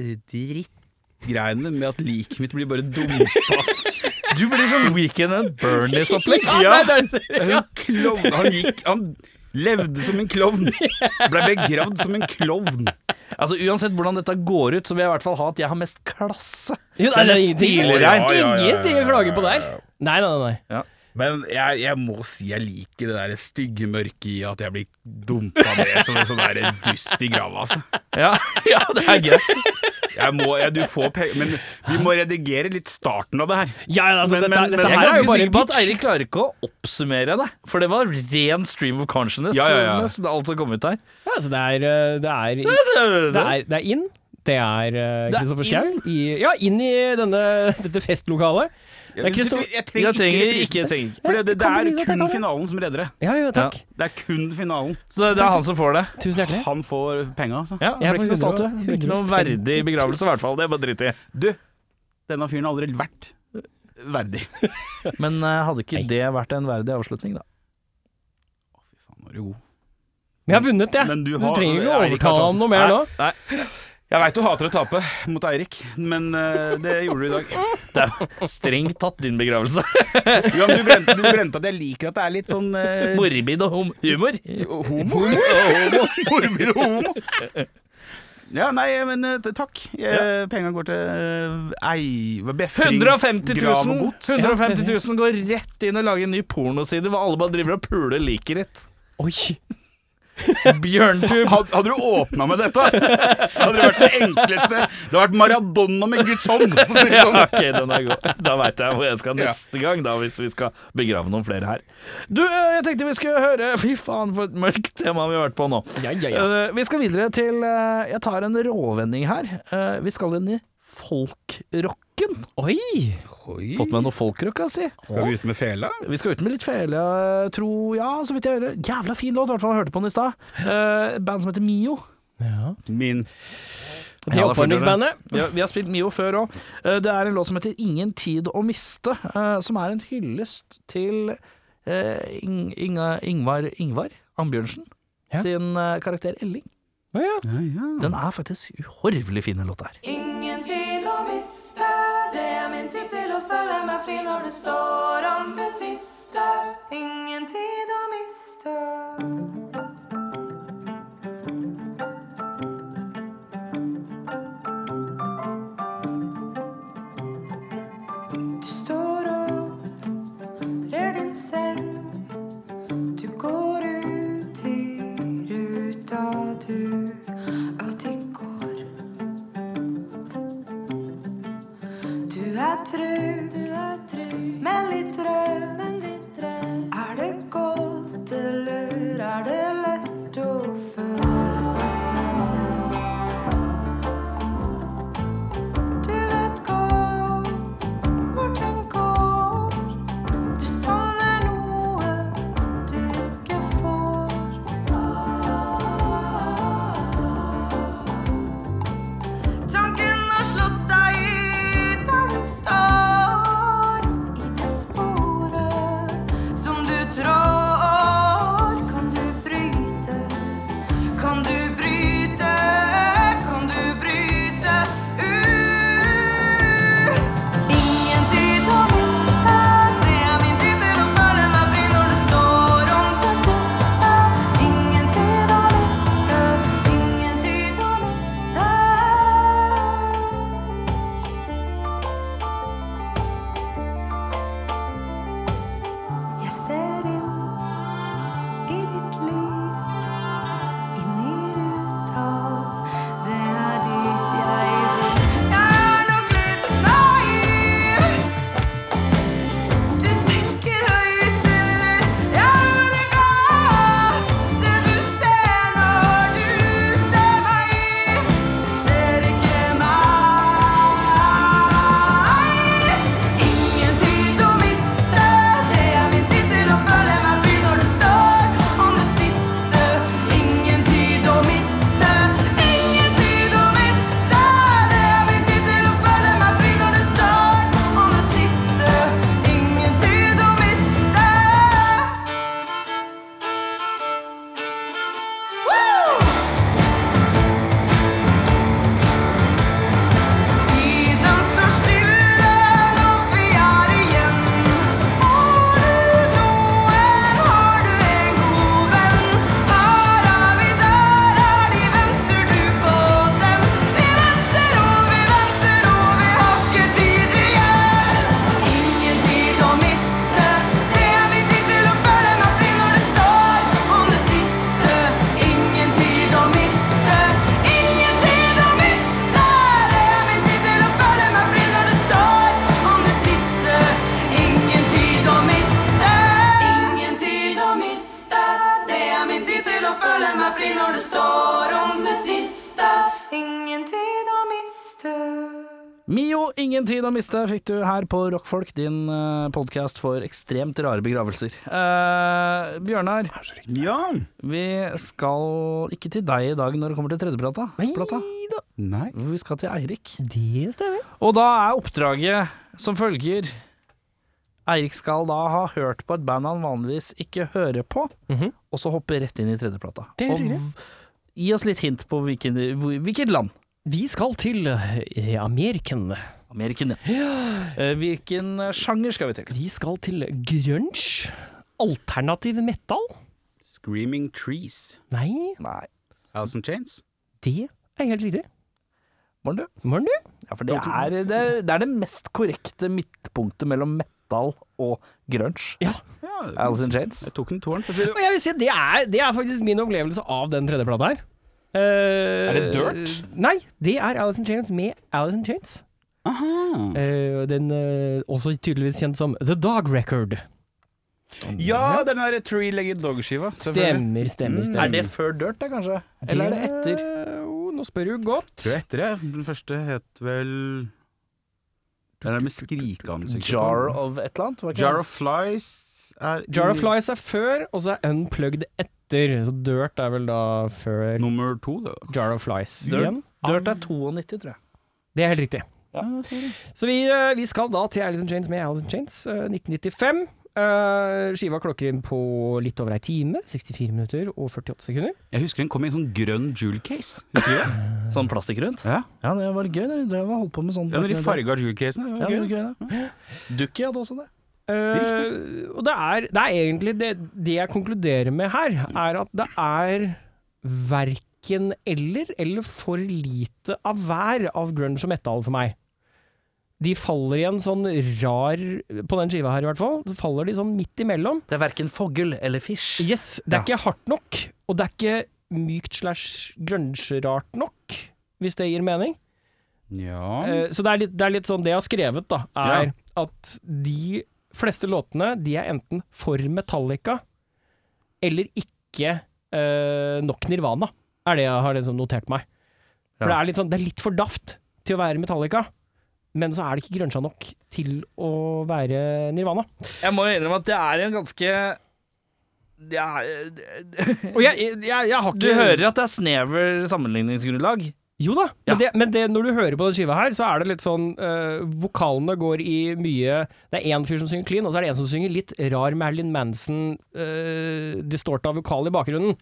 Speaker 3: drittgreiene med at liket mitt blir bare dumpa.
Speaker 2: Du blir sånn Weekend and Bernies-opplegg.
Speaker 3: Ja, En klovn. Han gikk Han levde som en klovn. Ble begravd som en klovn.
Speaker 2: Altså Uansett hvordan dette går ut, så vil jeg i hvert fall ha at jeg har mest klasse. Det
Speaker 4: Jo,
Speaker 2: er
Speaker 4: det er
Speaker 2: nesten
Speaker 4: ingenting,
Speaker 2: stilreint.
Speaker 4: ingenting å klage på der. Nei, nei, nei.
Speaker 3: Men jeg, jeg må si jeg liker det der stygge mørket i at jeg blir dumpa ned som en sånn der dust i grava, altså.
Speaker 2: Ja, ja det er greit.
Speaker 3: Jeg må, jeg, du får pe men vi må redigere litt starten av det her.
Speaker 4: Ja, ja, altså,
Speaker 3: Men-
Speaker 4: dette,
Speaker 3: men-
Speaker 4: dette
Speaker 3: men-
Speaker 2: Jeg
Speaker 4: her
Speaker 2: er
Speaker 4: er jo
Speaker 2: ganske sikker
Speaker 4: bare
Speaker 2: på at
Speaker 4: pitch.
Speaker 2: Eirik klarer ikke å oppsummere det, for det var ren stream of consciousness. sånn
Speaker 3: Ja, ja, ja.
Speaker 2: Nesten alt som kom ut her.
Speaker 4: Ja, altså, det, er, eh, det, er, i- det, er, det er inn. Det er eh,
Speaker 2: Det er
Speaker 4: Kristoffer Schau. i- Ja, inn i denne, dette festlokalet. Det er
Speaker 3: Jeg,
Speaker 4: Kristoffer-
Speaker 3: trenger
Speaker 2: Jeg trenger
Speaker 3: reprisen.
Speaker 2: ikke trenger ikke.
Speaker 3: For det, det,
Speaker 4: Kan
Speaker 3: er
Speaker 4: du vise at jeg
Speaker 3: kun
Speaker 4: kan det?
Speaker 3: finalen som redder det.
Speaker 4: Ja, ja, takk.
Speaker 3: Det er kun finalen.
Speaker 2: Så det er han som får det.
Speaker 4: Tusen hjertelig.
Speaker 3: Han får penga, altså.
Speaker 2: Ja, det
Speaker 4: Jeg
Speaker 2: blir ikke noe
Speaker 4: får
Speaker 2: statue. Det blir ikke noe
Speaker 4: 150
Speaker 2: verdig begravelse, i hvert fall. Det er bare dritt i.
Speaker 3: Du, denne fyren har aldri vært verdig.
Speaker 2: Men eh, hadde ikke det vært en verdig avslutning, da?
Speaker 3: Å, fy faen, nå er du god.
Speaker 4: Men jeg har vunnet, jeg.
Speaker 3: Men du
Speaker 4: Du,
Speaker 3: har-
Speaker 4: trenger ikke
Speaker 3: Eirik
Speaker 4: å
Speaker 3: har
Speaker 4: overtale
Speaker 3: tatt-
Speaker 4: ham noe mer nå.
Speaker 2: Nei,
Speaker 3: Jeg veit du hater å tape mot Eirik, men eh, det gjorde du i dag.
Speaker 2: det er strengt tatt din begravelse.
Speaker 3: Ja, men du, glemte, du glemte at jeg liker at det er litt sånn eh,
Speaker 2: Morbid og hum humor.
Speaker 3: homo. Morbid og homo. Ja, nei, men eh, takk. Eh, Penga går til eh, ei... hva, Befrings
Speaker 2: 150
Speaker 3: grav
Speaker 2: 000,
Speaker 3: og gods.
Speaker 2: 150 000 går rett inn og lager en ny pornoside hvor alle bare driver og puler liket ditt.
Speaker 4: Oi.
Speaker 2: Bjørntube.
Speaker 3: Had, hadde du åpna med dette, så hadde det vært det enkleste. Det hadde vært Maradona med Guds hånd. for å si
Speaker 2: Ja,
Speaker 3: det sånn.
Speaker 2: ok, den er god. Da veit jeg hvor jeg skal neste gang, da, hvis vi skal begrave noen flere her. Du, eh, jeg tenkte vi skulle høre Fy faen, for et mørkt tema vi har vært på nå.
Speaker 4: Ja, ja, ja.
Speaker 2: Eh, Vi skal videre til eh, Jeg tar en råvending her. Eh, Vi skal inn i folkrocken.
Speaker 4: Oi!
Speaker 2: Fått med noe folkrock, altså. kan jeg si.
Speaker 3: Skal vi ut med fela?
Speaker 2: Vi skal ut med litt fele, tror Ja, så vidt jeg hører. Jævla fin låt, i hvert fall. Jeg hørte på den i stad. Eh, Band som heter Mio.
Speaker 4: Ja.
Speaker 3: Min.
Speaker 4: Det er oppvarmingsbandet.
Speaker 2: Vi har, vi har spilt Mio før òg. Det er en låt som heter 'Ingen tid å miste', eh, som er en hyllest til eh, Ing Inga Ingvar Ingvar Ambjørnsen
Speaker 4: Ja.
Speaker 2: sin eh, karakter Elling.
Speaker 4: Å ja.
Speaker 2: Den er faktisk uhorvelig fin, den låta her.
Speaker 7: Ingen tid å miste, det er min tid til å føle meg fri når det står om det siste. Ingen tid å miste. Du står opp, rer din seng. Du går ut i ruta, du. Alltid går. Du er trygg, men litt rød. Er det godt, eller er det lett å føle seg sånn? Du vet godt hvor ting går. Du savner noe du ikke får. Ah. Tanken har slått deg ut der du står. I det sporet som du trår. Kan du bryte? Kan du bryte? Kan du bryte ut? Ingen tid å miste. Det er min tid til å føle meg fri når det står om det siste. Ingen tid å miste. Ingen tid å miste. Jeg ser inn i ditt liv, inn i ruta. Det er dit jeg vil. Jeg er nok litt naiv. Du tenker høyt, eller jeg hører godt det du ser når du ser meg. Du ser ikke meg. Ingen tid å miste, det er min tid til å føle meg fri når det står om det siste. Ingen tid å miste, ingen tid å miste. Det er min tid til å føle meg fri når det står om det siste. Ingen tid å miste. Woo! Tiden står stille når vi er igjen. Har du noen, har du en god venn? Her er vi, der er de, venter du på dem? Vi venter og vi venter og vi har ikke tid igjen. Ingen tid å miste, det er min tid til å føle meg fri når det står om det siste. Ingen tid å miste, ingen tid å miste. Det er min tid
Speaker 2: Mio, ingen
Speaker 7: til å føle meg fri når det står om det siste. Ingen tid å miste. Ingen tid å miste. Det er min tid til å føle meg fri når det står om det siste. Ingen tid å miste.
Speaker 2: tid å miste, fikk du her på Rockfolk, din podkast for ekstremt rare begravelser. Eh, Bjørnar,
Speaker 3: Ja.
Speaker 2: vi skal ikke til deg i dag når det kommer til tredjeplata. plata.
Speaker 3: Nei.
Speaker 2: Vi skal til Eirik.
Speaker 4: Det stemmer.
Speaker 2: Og da er oppdraget som følger Eirik skal da ha hørt på et band han vanligvis ikke hører på,
Speaker 4: Mhm.
Speaker 2: og så hoppe rett inn i tredjeplata.
Speaker 4: Det er
Speaker 2: Og
Speaker 4: riktig.
Speaker 2: v- Gi oss litt hint på hvilken, hvor- hvilket land.
Speaker 4: Vi skal til eh, Ameriken.
Speaker 2: Ameriken, ja. Eh, Hvilken eh, sjanger skal vi til?
Speaker 4: Vi skal til grunge. Alternativ metal.
Speaker 3: Screaming Trees.
Speaker 4: Nei,
Speaker 2: Nei,
Speaker 3: Alice in Chains.
Speaker 4: det er helt riktig.
Speaker 2: Morn, du.
Speaker 4: Morn, du.
Speaker 2: Ja, for det er det, det er det mest korrekte midtpunktet mellom metal metal og grunge.
Speaker 4: Ja.
Speaker 3: Ja,
Speaker 2: Alice in Chains.
Speaker 3: jeg tok en tårn. for å si det.
Speaker 4: Og jeg vil si at det er, det er faktisk min opplevelse av den tredje plata her. Eh,
Speaker 6: Er det Dirt?
Speaker 4: Nei, det er Alice in Chains med Alice in Chains.
Speaker 2: Mm.
Speaker 3: Aha.
Speaker 4: Eh, og den eh, også tydeligvis kjent som The Dog Record.
Speaker 3: Ja, den der three-legged dog-skiva. selvfølgelig.
Speaker 4: Stemmer, stemmer, stemmer.
Speaker 2: Er det før Dirt, da, kanskje? Eller Mm. er det etter?
Speaker 4: Oh, nå spør du godt.
Speaker 3: Tror jeg etter det. Den første het vel Den der med skrikeansiktet. på.
Speaker 2: Jar of et eller annet? var ikke
Speaker 3: Jar
Speaker 2: det?
Speaker 3: of Flies er i
Speaker 4: Jar of Flies er før, og så er Unplugged etter. Så Dirt er vel da før
Speaker 3: nummer to, det. da.
Speaker 4: Jar of Flies
Speaker 2: Dirt.
Speaker 4: igjen.
Speaker 2: Dirt er 92, tror jeg.
Speaker 4: Det er helt riktig. Så vi, eh, vi skal da til Alice in Chains med Alice in Chains, eh, 1995. Eh, skiva klokker inn på litt over ei time, 64 minutter og 48 sekunder.
Speaker 3: Jeg husker den kom i en sånn grønn jewel case. Husker du det?
Speaker 2: Sånn plastikk rundt?
Speaker 3: Ja,
Speaker 2: Ja, det var gøy. Det Det var holdt på med sånn.
Speaker 3: ja De farga jewel casene.
Speaker 2: Ja,
Speaker 3: det
Speaker 2: det var
Speaker 3: var gøy.
Speaker 2: gøy, det. Dukki hadde også det.
Speaker 4: Eh, og det er, det er egentlig det, det jeg konkluderer med her, er at det er verken eller, eller for lite av hver av grunge og metal for meg. De faller i en sånn rar På den skiva her, i hvert fall. Så faller de sånn midt imellom.
Speaker 2: Det er verken fogl eller fish.
Speaker 4: Yes, det er ikke hardt nok, og det er ikke mykt slash grunge-rart nok, hvis det gir mening.
Speaker 3: Ja.
Speaker 4: Eh, Så det er, litt, det er litt sånn det jeg har skrevet, da, er at de fleste låtene de er enten for Metallica eller ikke eh, nok Nirvana, er det jeg har liksom notert meg. For det, er litt sånn, det er litt for daft til å være Metallica, men så er det ikke grønnsja nok til å være Nirvana.
Speaker 2: Jeg må jo innrømme at det er en ganske eh, det er,
Speaker 4: Og jeg, jeg, jeg, jeg har
Speaker 2: Du hører at det er snever sammenligningsgrunnlag.
Speaker 4: Jo da,
Speaker 2: Ja.
Speaker 4: men, det, men det, når du hører på den skiva her, så er det litt sånn eh, Vokalene går i mye Det er én fyr som synger clean, og så er det en som synger litt rar Marilyn Manson, uh, distorta vokal i bakgrunnen.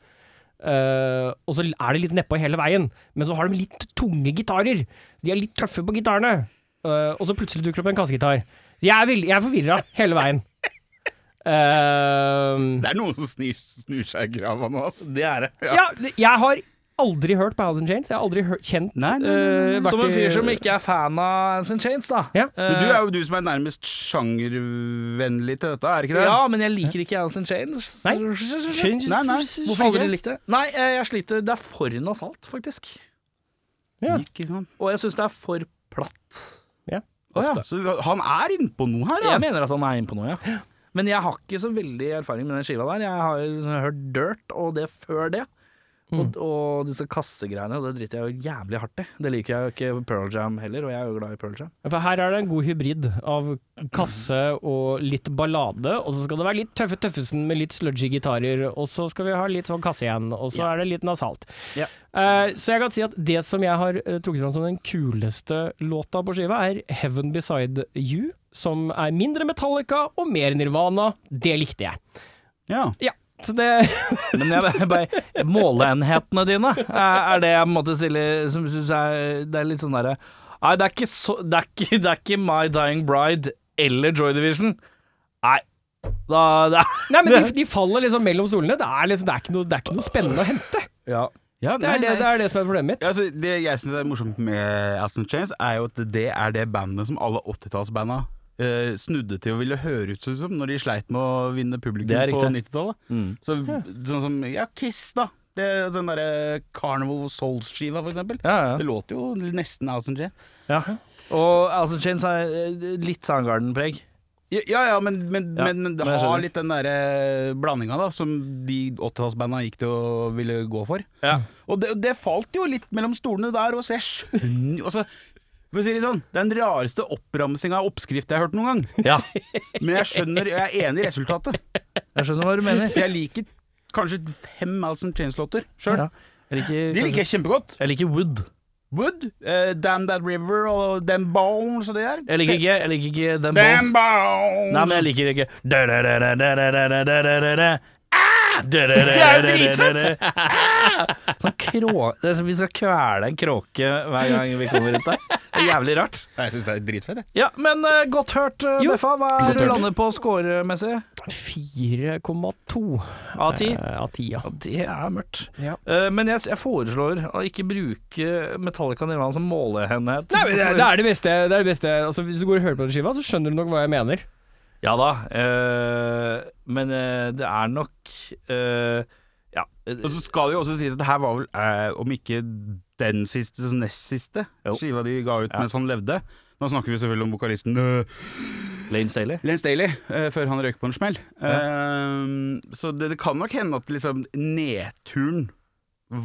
Speaker 4: Eh, og så er det litt nedpå hele veien, men så har de litt tunge gitarer. Så De er litt tøffe på gitarene. Eh, og så plutselig dukker det opp en kassegitar. Så Jeg er, vill- jeg er forvirra hele veien. Eh,
Speaker 3: Det er noen som snir, snur seg i grava nå, ass.
Speaker 2: Det er det.
Speaker 4: ja, jeg har aldri hørt på Alice in Chains. Jeg har aldri hørt, kjent
Speaker 3: Nei, nei, nei,
Speaker 4: eh, vært
Speaker 2: Som en
Speaker 4: i-
Speaker 2: fyr som ikke er fan av Alice in Chains, da.
Speaker 4: Ja.
Speaker 3: Men du er jo du som er nærmest sjangervennlig til dette, er det ikke det?
Speaker 2: Ja, men jeg liker ikke Alice in Chains.
Speaker 4: Nei.
Speaker 2: Hvorfor
Speaker 4: Changes.
Speaker 3: Nei, nei.
Speaker 4: Hvorfor
Speaker 2: aldri
Speaker 4: ikke?
Speaker 2: likt det? Nei, eh, jeg sliter. Det er for nasalt, faktisk.
Speaker 4: Ja.
Speaker 3: Ikke sant?
Speaker 2: Og jeg syns det er for platt.
Speaker 3: Å ja, så han er innpå noe her, ja.
Speaker 2: Jeg mener at han er inne på noe, ja. Men jeg har ikke så veldig erfaring med den skiva der. Jeg har jo hørt Dirt og det før det. Og, og disse kassegreiene, det driter jeg jo jævlig hardt i. Det liker jeg jo ikke Pearl Jam heller, og jeg er jo glad i Pearl Jam.
Speaker 4: For her er det en god hybrid av kasse og litt ballade, og så skal det være litt tøffe tøffesen med litt sludgy gitarer, og så skal vi ha litt sånn kasse igjen, og så er det litt nasalt.
Speaker 2: Ja.
Speaker 4: Eh, så jeg kan si at det som jeg har eh, trukket fram som den kuleste låta på skiva, er Heaven Beside You, som er mindre Metallica og mer Nirvana. Det likte jeg.
Speaker 3: ja.
Speaker 4: Ja, så det
Speaker 2: Men jeg, bare, måleenhetene dine er, er det jeg på en måte stiller Som syns jeg Det er litt sånn derre Nei, det er ikke så det er ikke, det er ikke My Dying Bride eller Joy Division. Nei. Da det er,
Speaker 4: Nei, men de, de faller liksom mellom stolene. Det er, liksom, det, er ikke noe, det er ikke noe spennende å hente.
Speaker 2: ja.
Speaker 3: ja
Speaker 4: Det
Speaker 3: nei,
Speaker 4: er det,
Speaker 3: nei.
Speaker 4: det, er det som er problemet mitt.
Speaker 3: Ja, altså, det jeg syns er morsomt med Aston Chains, er jo at det er det bandet som alle 80-tallsbanda eh, snudde til og ville høre ut som når de sleit med å vinne publikum
Speaker 2: Det er
Speaker 3: på
Speaker 2: riktig.
Speaker 3: 90-tallet.
Speaker 2: Mm.
Speaker 3: Så, sånn som ja, Kiss, da. Det, er den derre Carnival Souls-skiva, for eksempel.
Speaker 2: Ja, ja.
Speaker 3: Det låter jo nesten Aston Chains.
Speaker 2: Ja. Og Alice in Chains har eh, litt Soundgarden-preg.
Speaker 3: Ja, ja, ja, men, men,
Speaker 2: Ja,
Speaker 3: men, men det
Speaker 2: men jeg
Speaker 3: har
Speaker 2: skjønner.
Speaker 3: litt den derre blandinga da, som de 80-tallsbanda gikk til å ville gå for.
Speaker 2: Ja.
Speaker 3: Og det, det falt jo litt mellom stolene der òg, så jeg skjønner jo altså, For å si det sånn, det er den rareste oppramsinga av oppskrift jeg har hørt noen gang.
Speaker 2: Ja,
Speaker 3: Men jeg skjønner, jeg er enig i resultatet.
Speaker 2: jeg skjønner hva du mener.
Speaker 3: For jeg liker kanskje fem Alison Chains-låter sjøl.
Speaker 2: Ja. Jeg liker,
Speaker 3: De liker
Speaker 2: kanskje-
Speaker 3: jeg kjempegodt.
Speaker 2: jeg liker Wood.
Speaker 3: Wood, eh, Damn That River og Them Bones og det der.
Speaker 2: Jeg liker ikke, jeg liker ikke The
Speaker 3: Damn
Speaker 2: Eh, Bones.
Speaker 3: Bones!
Speaker 2: Nei, men jeg liker ikke Da-da-da-da-da-da-da-da-da-da. Ah!
Speaker 3: Det er jo dritfett!
Speaker 2: Ah! Sånn krå... Det er som vi skal kvele en kråke hver gang vi kommer ut der. Det er jævlig rart.
Speaker 3: Nei, Jeg syns det er dritfett, jeg.
Speaker 2: Ja, men eh, godt hørt, eh,
Speaker 4: Jo.
Speaker 2: Beffa. Hva er
Speaker 4: Godt
Speaker 2: det du
Speaker 4: hørt.
Speaker 2: lander på scoremessig?
Speaker 4: 4,2
Speaker 2: Av ti?
Speaker 4: eh, av 10, ja.
Speaker 2: Det er mørkt.
Speaker 4: Ja.
Speaker 2: Eh, men jeg, jeg foreslår å ikke bruke Metallica Nirvana som måleenhet.
Speaker 4: Nei, men det, det er det beste. Det er det beste. Altså, hvis du går og hører på den skiva, så skjønner du nok hva jeg mener.
Speaker 2: Ja da, eh, men eh, det er nok eh, Ja.
Speaker 3: Og så skal det jo også sies at det her var vel, eh, om ikke den siste, så nest siste
Speaker 2: Jo.
Speaker 3: skiva de ga ut mens han levde. Nå snakker vi selvfølgelig om vokalisten øh,
Speaker 2: Lane Staley.
Speaker 3: Lance Daly, eh, før han røyk på en smell. Eh, så det, det kan nok hende at liksom nedturen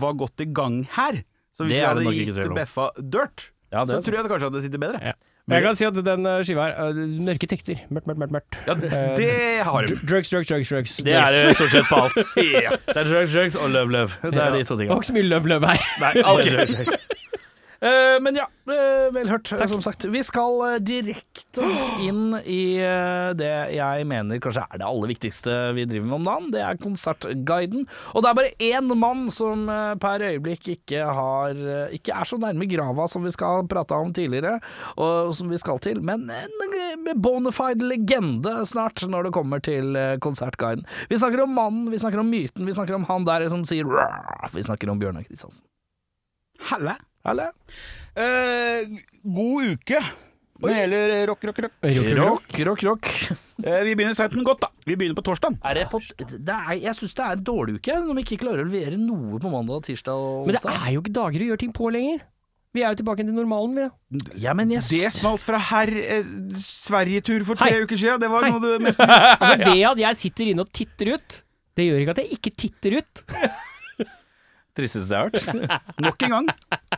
Speaker 3: var godt i gang her. Så
Speaker 2: Det
Speaker 3: hvis vi
Speaker 2: er det
Speaker 3: hadde
Speaker 2: nok ikke tvil
Speaker 3: gitt
Speaker 2: om.
Speaker 3: Beffa dirt,
Speaker 2: Ja, det er
Speaker 3: så
Speaker 2: sant.
Speaker 3: tror jeg det kanskje hadde sittet bedre.
Speaker 4: Men jeg kan si at den eh, skiva her eh, Mørke tekster. Mørkt, mørkt, mørkt. mørkt.
Speaker 3: Ja, det har de.
Speaker 4: Dr- Drugs, drugs, drugs. drugs.
Speaker 2: Det er det stort sett på alt. Det er drugs, drugs og love, love. Det er de to
Speaker 4: Det
Speaker 2: tingene.
Speaker 4: var ikke så mye løv, løv her.
Speaker 2: Nei, Eh, men ja, eh, vel hørt, eh, som sagt. Vi skal eh, direkte inn i eh, det jeg mener kanskje er det aller viktigste vi driver med om dagen. Det er konsertguiden. Og det er bare én mann som eh, per øyeblikk ikke, har, eh, ikke er så nærme grava som vi skal prate om tidligere, og som vi skal til, men en eh, bona fide legende snart når det kommer til eh, konsertguiden. Vi snakker om mannen, vi snakker om myten, vi snakker om han der som sier «Rar». Vi snakker om Bjørnar Kristiansen.
Speaker 3: Helle.
Speaker 2: Eller?
Speaker 3: Eh, god uke når det gjelder rock, rock, rock.
Speaker 2: Rock, rock, rock.
Speaker 3: Eh, vi begynner seint, men godt, da. Vi begynner på torsdag.
Speaker 2: Er det på, det er, jeg syns det er en dårlig uke når vi ikke klarer å levere noe på mandag, tirsdag og
Speaker 4: Men det er jo ikke dager å gjøre ting på lenger. Vi er jo tilbake til normalen, vi. da.
Speaker 2: ja, men jeg,
Speaker 3: Det smalt fra herr eh, Sverigetur for
Speaker 4: Hei.
Speaker 3: tre uker siden. Det var
Speaker 4: Hei.
Speaker 3: noe du mest
Speaker 4: Altså, det at jeg sitter inne og titter ut, det gjør ikke at jeg ikke titter ut.
Speaker 2: tristeste jeg har hørt.
Speaker 3: Nok en gang.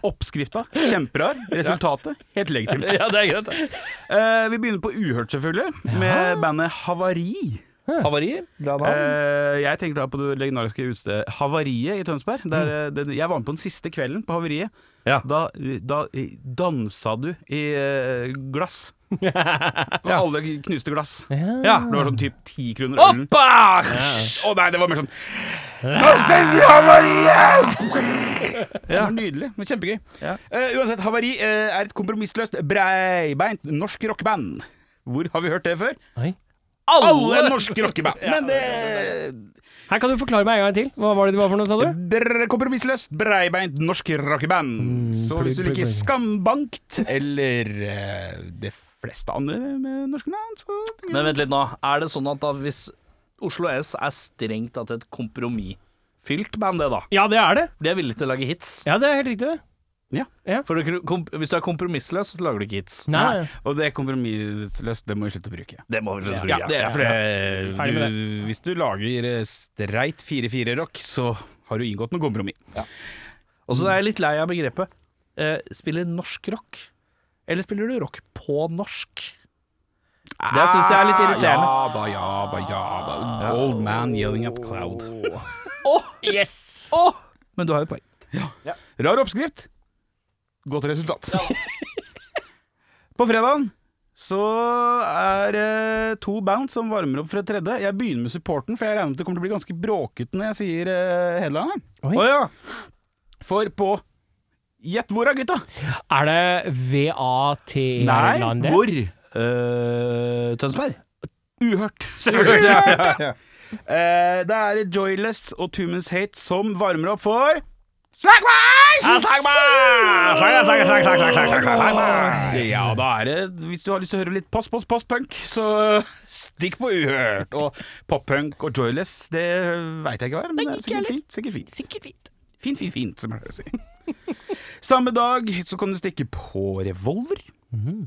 Speaker 3: Oppskrifta kjemperar. Resultatet helt legitimt.
Speaker 2: ja, det er greit.
Speaker 3: Eh, vi begynner på Uhørt, selvfølgelig, med bandet Havari.
Speaker 2: Havari. Bra navn.
Speaker 3: Eh, jeg tenker da på det legendariske utestedet Havariet i Tønsberg. Der, eh, den, jeg var med på den siste kvelden på Havariet.
Speaker 2: Ja.
Speaker 3: Da, da eh, dansa du i eh, glass. Og alle knuste glass.
Speaker 2: Ja.
Speaker 3: Det var sånn typ ti kroner ølen.
Speaker 2: Oppa!
Speaker 3: Å nei, det var mer sånn Nå stenger havariet! Det var nydelig. men Kjempegøy.
Speaker 2: Ja.
Speaker 3: Eh, uansett, Havari eh, er et kompromissløst, breibeint norsk rockeband. Hvor har vi hørt det før?
Speaker 4: Oi.
Speaker 3: Alle norske rockeband! Men det
Speaker 4: Her kan du forklare meg en gang til. Hva var det det var for noe, sa du?
Speaker 3: Br Kompromissløst, breibeint norsk rockeband. Så hvis du
Speaker 4: plugg,
Speaker 3: liker
Speaker 4: plugg.
Speaker 3: Skambankt eller eh, de fleste andre med norske navn, så
Speaker 2: Men vent litt nå. Er det sånn at da hvis Oslo S er strengt tatt et kompromissfylt band, det da?
Speaker 4: Ja, det er det.
Speaker 2: De er villige til å lage hits.
Speaker 4: Ja, det er helt riktig, det.
Speaker 2: For du, kom, hvis du er kompromissløs, så lager du ikke hits.
Speaker 4: Nei, nei.
Speaker 3: Og det kompromissløst, det må vi slutte å bruke.
Speaker 2: Det må vi
Speaker 3: Ja, det er for
Speaker 4: Ferdig
Speaker 3: det
Speaker 4: med
Speaker 3: du, Hvis du lager eh, streit 4-4-rock, så har du inngått noe kompromiss.
Speaker 2: Og så er jeg litt lei av begrepet eh, spiller norsk rock. Eller spiller du rock på norsk? Det syns jeg er litt irriterende.
Speaker 3: Ah, Ja da, ja da, ja da. Old man yelling at cloud.
Speaker 2: Åh! Men du har jo poeng.
Speaker 3: Rar oppskrift. Godt resultat. På fredagen så er det to band som varmer opp for et tredje. Jeg begynner med supporten, for jeg regner med at det kommer til å bli ganske bråkete når jeg sier eh, headlineren.
Speaker 4: Oi.
Speaker 3: ja. For på Gjett hvor, da, gutta?
Speaker 4: Er det E
Speaker 3: Nei,
Speaker 4: VAT-landet?
Speaker 3: hvor?
Speaker 2: Eh, Tønsberg?
Speaker 3: Uhørt. Uhørt, ja, Eh, det er Joyless og Two Men's Hate som varmer opp for Slagmars! Ja, da er det Hvis du har lyst til å høre litt post, post, post punk, så stikk på Uhørt. Og pop-punk og Joyless, det veit jeg ikke hva er, men det er sikkert fint. Sikkert fint. Fint, fint, fint, som jeg pleier å si. Samme dag så kan du stikke på Revolver. Mhm.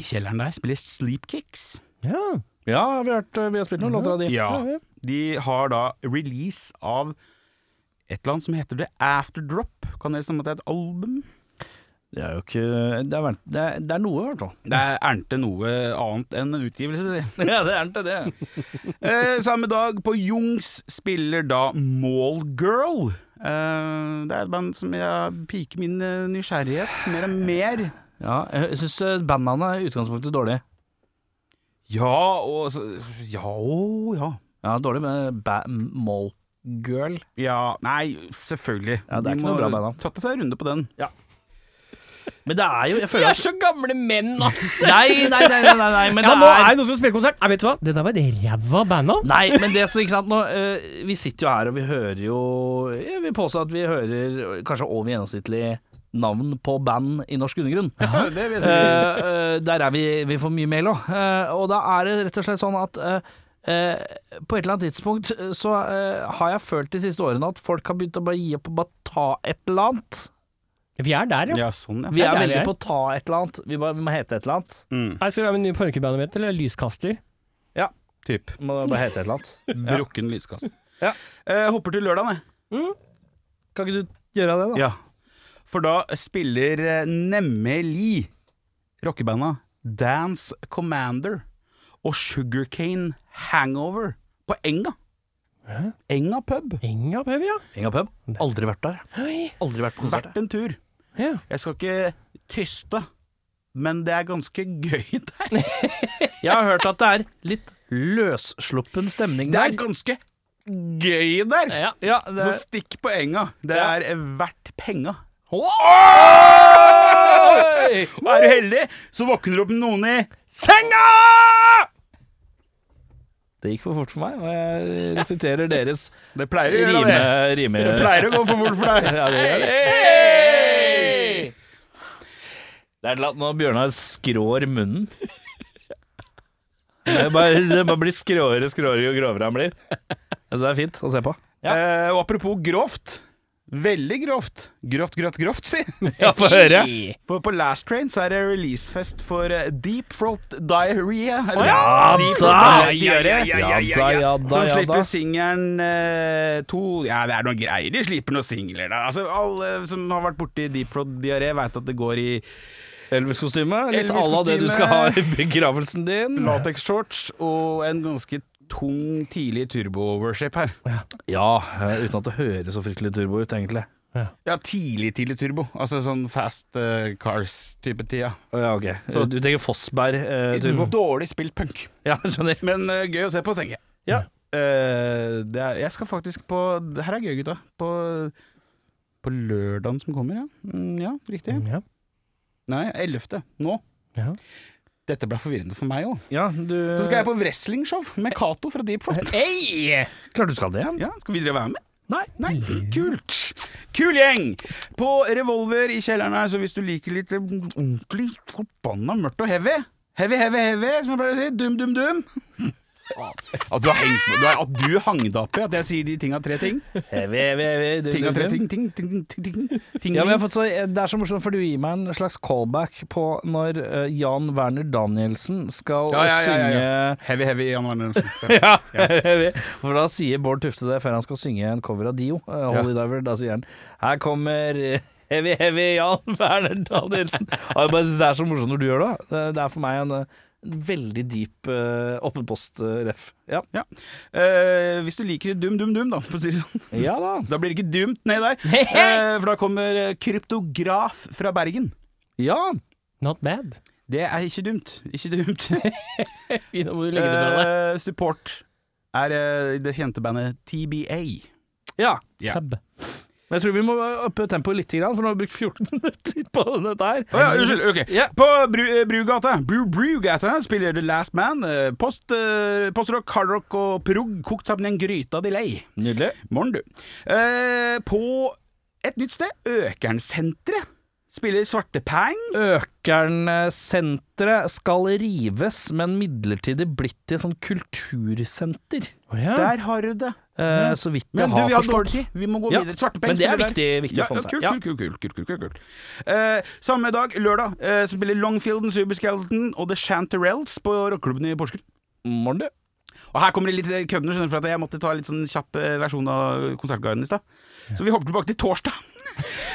Speaker 3: I kjelleren der spiller Sleepkicks.
Speaker 4: Ja.
Speaker 2: Ja, vi har, hørt, vi har spilt noen låter av de.
Speaker 3: Ja. De har da release av et eller annet som heter The After Drop. Kan dere stemme at det er et album?
Speaker 2: Det er jo ikke Det er, vel- det er, det er noe, i hvert fall.
Speaker 3: Det er ernte noe annet enn en utgivelse. det.
Speaker 2: Ja, det er ikke det.
Speaker 3: Eh, samme dag på Jungs spiller da Mallgirl. Eh, det er et band som jeg piker min eh, nysgjerrighet mer og mer.
Speaker 2: Ja, jeg syns bandnavnet er i utgangspunktet dårlig.
Speaker 3: Ja og så, Ja og ja.
Speaker 2: Ja, dårlig med ba Mall Girl.
Speaker 3: Ja, nei, selvfølgelig.
Speaker 2: Ja, det er
Speaker 3: De
Speaker 2: ikke noe
Speaker 3: må
Speaker 2: bra band, da.
Speaker 3: Tatt seg en runde på den.
Speaker 2: Men det er jo Jeg
Speaker 4: Vi
Speaker 2: føler
Speaker 4: er
Speaker 2: at
Speaker 4: så gamle menn, altså. ass!
Speaker 2: Nei, nei, nei, nei, nei, nei men
Speaker 4: Ja, nå
Speaker 2: det
Speaker 4: er
Speaker 2: er
Speaker 4: det noen som spiller konsert. Nei, vet du hva? Det der var et ræva band òg.
Speaker 2: Nei, men det som ikke sant nå eh, Vi sitter jo her og vi hører jo Jeg vil påstå at vi hører kanskje over gjennomsnittlig navn på band i norsk undergrunn.
Speaker 3: det vil jeg si.
Speaker 2: Eh, eh, der er vi, vi får mye mail òg. og da er det rett og slett sånn at eh, eh, på et eller annet tidspunkt eh, så eh, har jeg følt de siste årene at folk har begynt å bare gi opp og bare ta et eller annet.
Speaker 4: Vi er der, ja.
Speaker 3: Ja, sånn, ja.
Speaker 2: Vi
Speaker 4: Ja,
Speaker 2: er
Speaker 4: det er
Speaker 2: veldig
Speaker 4: vi
Speaker 2: på å ta et eller annet. Vi, bare, vi må hete et eller annet.
Speaker 3: Mm,
Speaker 4: Her skal vi ha med en ny parkebandet mitt, eller lyskaster.
Speaker 3: typ.
Speaker 2: Må bare hete et eller annet.
Speaker 3: Brukken lyskast.
Speaker 2: Ja.
Speaker 3: Eh, hopper til lørdagen, jeg.
Speaker 2: Kan ikke du gjøre det, da?
Speaker 3: Ja. For da spiller eh, nemlig rockebanda Dance Commander og Sugarcane Hangover på Enga. Enga pub.
Speaker 4: Enga, baby, ja.
Speaker 2: Inga Pub. Aldri vært der. Aldri vært på konsert.
Speaker 3: Vært en tur.
Speaker 4: ja.
Speaker 3: Jeg skal ikke tyste, men det er ganske gøy der.
Speaker 2: Jeg har hørt at det er litt løssluppen stemning
Speaker 3: Det
Speaker 2: der.
Speaker 3: er ganske gøy der!
Speaker 4: ja.
Speaker 2: Ja, det
Speaker 3: Så stikk på enga. Det er eh, verdt penga.
Speaker 2: Oi!
Speaker 3: Er du heldig, så våkner du opp med noen i
Speaker 2: Det gikk for fort for meg, og jeg respekterer deres
Speaker 3: Det pleier å gjøre
Speaker 2: rime...
Speaker 3: det.
Speaker 2: rime.
Speaker 3: Det pleier å gå for fort for deg.
Speaker 2: Ja, det gjør det. Hey! Det er et eller annet når Bjørnar skrår munnen. Det bare, det bare blir skråere og skråere jo grovere han blir. Altså, det er fint å se på. Ja.
Speaker 3: Eh, og apropos grovt. Veldig grovt. Grovt, grovt, grovt, si.
Speaker 2: Ja, få høre.
Speaker 3: For på Last Train så er det releasefest for eh, Deep Throat Diarrhea. eller
Speaker 2: Ja
Speaker 3: Deep
Speaker 2: da!
Speaker 3: Throat Diarrhea,
Speaker 2: Ja da, ja da,
Speaker 3: Som
Speaker 2: ja da.
Speaker 3: slipper singelen eh, to Ja, det er noen greier de slipper noen singler, da. Altså, alle som har vært borti Deep Throat Diaré, veit at det går i
Speaker 2: Elvis-kostyme. Litt à la
Speaker 3: Elvis-kostyme.
Speaker 2: det du skal ha i begravelsen din.
Speaker 3: latex-shorts og en ganske tung tidlig turbo-worship her.
Speaker 2: Ja, eh, uten at det høres så fryktelig turbo ut, egentlig.
Speaker 3: Ja, tidlig, tidlig turbo. Altså sånn fast eh, cars-type tida.
Speaker 2: Å, Ja, ok. Så Mm. du tenker Fossberg-turbo?
Speaker 3: Dårlig spilt punk,
Speaker 2: Ja, skjønner.
Speaker 3: men eh, gøy å se på, tenker jeg.
Speaker 2: Ja.
Speaker 3: Eh, det er, jeg skal faktisk på Det her er gøy, gutta. På, på lørdagen som kommer, ja. Mm, ja, riktig.
Speaker 4: Ja.
Speaker 3: Nei, 11. Nå.
Speaker 4: Ja.
Speaker 3: Dette ble forvirrende for meg òg.
Speaker 2: Ja, du
Speaker 3: Så skal jeg på wrestlingshow med Cato fra Deep Front.
Speaker 4: Hey!
Speaker 2: Klart du skal det.
Speaker 3: Ja, skal vi dere være med? Nei. Nei, Kult! Kul gjeng! På Revolver i kjelleren her, så hvis du liker litt ordentlig forbanna mørkt og heavy Heavy, heavy, heavy, som jeg pleier å si. Dum, dum, dum. At du har hengt du har, At du hang deg opp i at jeg sier de tinga tre ting.
Speaker 2: Heavy, heavy, heavy. Du,
Speaker 3: Tinga
Speaker 2: du,
Speaker 3: tre
Speaker 2: du.
Speaker 3: ting, ting, ting, ting, ting, ting.
Speaker 2: Ja, men jeg har fått så, eh, det er så morsomt, for du gir meg en slags callback på når eh, Jan Werner Danielsen skal
Speaker 3: Ja, ja, ja, ja, ja.
Speaker 2: synge
Speaker 3: Heavy, heavy, Jan Arne Larsen.
Speaker 2: ja, heavy. for da sier Bård Tufte det før han skal synge en cover av Dio, eh, Holy Diver. Da sier han Her kommer eh, Heavy Heavy Jan Werner Danielsen. Og jeg bare synes Det er så morsomt når du gjør det. Det, det er for meg en eh, veldig dyp uh, åpenpost-ref. Ja.
Speaker 3: Ja. Eh, hvis du liker dum, dum, dum, da, for å si det sånn.
Speaker 2: ja da.
Speaker 3: Da blir det ikke dumt ned der. Eh, for da kommer eh, kryptograf fra Bergen.
Speaker 2: Ja.
Speaker 4: Not bad.
Speaker 3: Det er ikke dumt. Ikke dumt.
Speaker 4: Fint, da må du legge det fra deg.
Speaker 3: Eh, support er eh, det kjente bandet TBA.
Speaker 2: ja.
Speaker 3: ja.
Speaker 4: Tab.
Speaker 2: Men jeg tror vi må oppe tempoet litt, grann, for nå har vi brukt 14 minutter på dette her.
Speaker 3: Å ja, unnskyld. Ok.
Speaker 2: Ja.
Speaker 3: På Bru, eh, Brugata Bru, Brugata spiller The Last Man. eh, Post, eh, postrock, hardrock og prog kokt sammen i en gryte av delay.
Speaker 2: Nydelig.
Speaker 3: Morgen, du. Eh, på et nytt sted, Økernsenteret, spiller Svartepang.
Speaker 2: Økernsenteret eh, skal rives, men midlertidig blitt til et sånn kultursenter.
Speaker 4: Å ja.
Speaker 3: Der har du det.
Speaker 2: Eh, så vidt jeg
Speaker 3: Men du, vi
Speaker 2: har
Speaker 3: har
Speaker 2: forstått.
Speaker 3: dårlig tid. Vi må gå
Speaker 2: Ja,
Speaker 3: videre. Svartepeng
Speaker 2: Men det er
Speaker 3: spiller der.
Speaker 2: viktig, viktig
Speaker 3: Ja,
Speaker 2: å få med seg.
Speaker 3: ja, kult, kult, kult, kult, kult, kult, kult, kult. Eh, Samme dag, lørdag, eh, så spiller Longfielden, Superskeleton og The Chanterelles på rockeklubben i Porsgrunn.
Speaker 2: Morgen, du.
Speaker 3: Og her kommer det litt eh, køddende, skjønner du, for at jeg måtte ta litt sånn kjapp eh, versjon av Konsertguiden i stad. Så vi hopper tilbake til torsdag.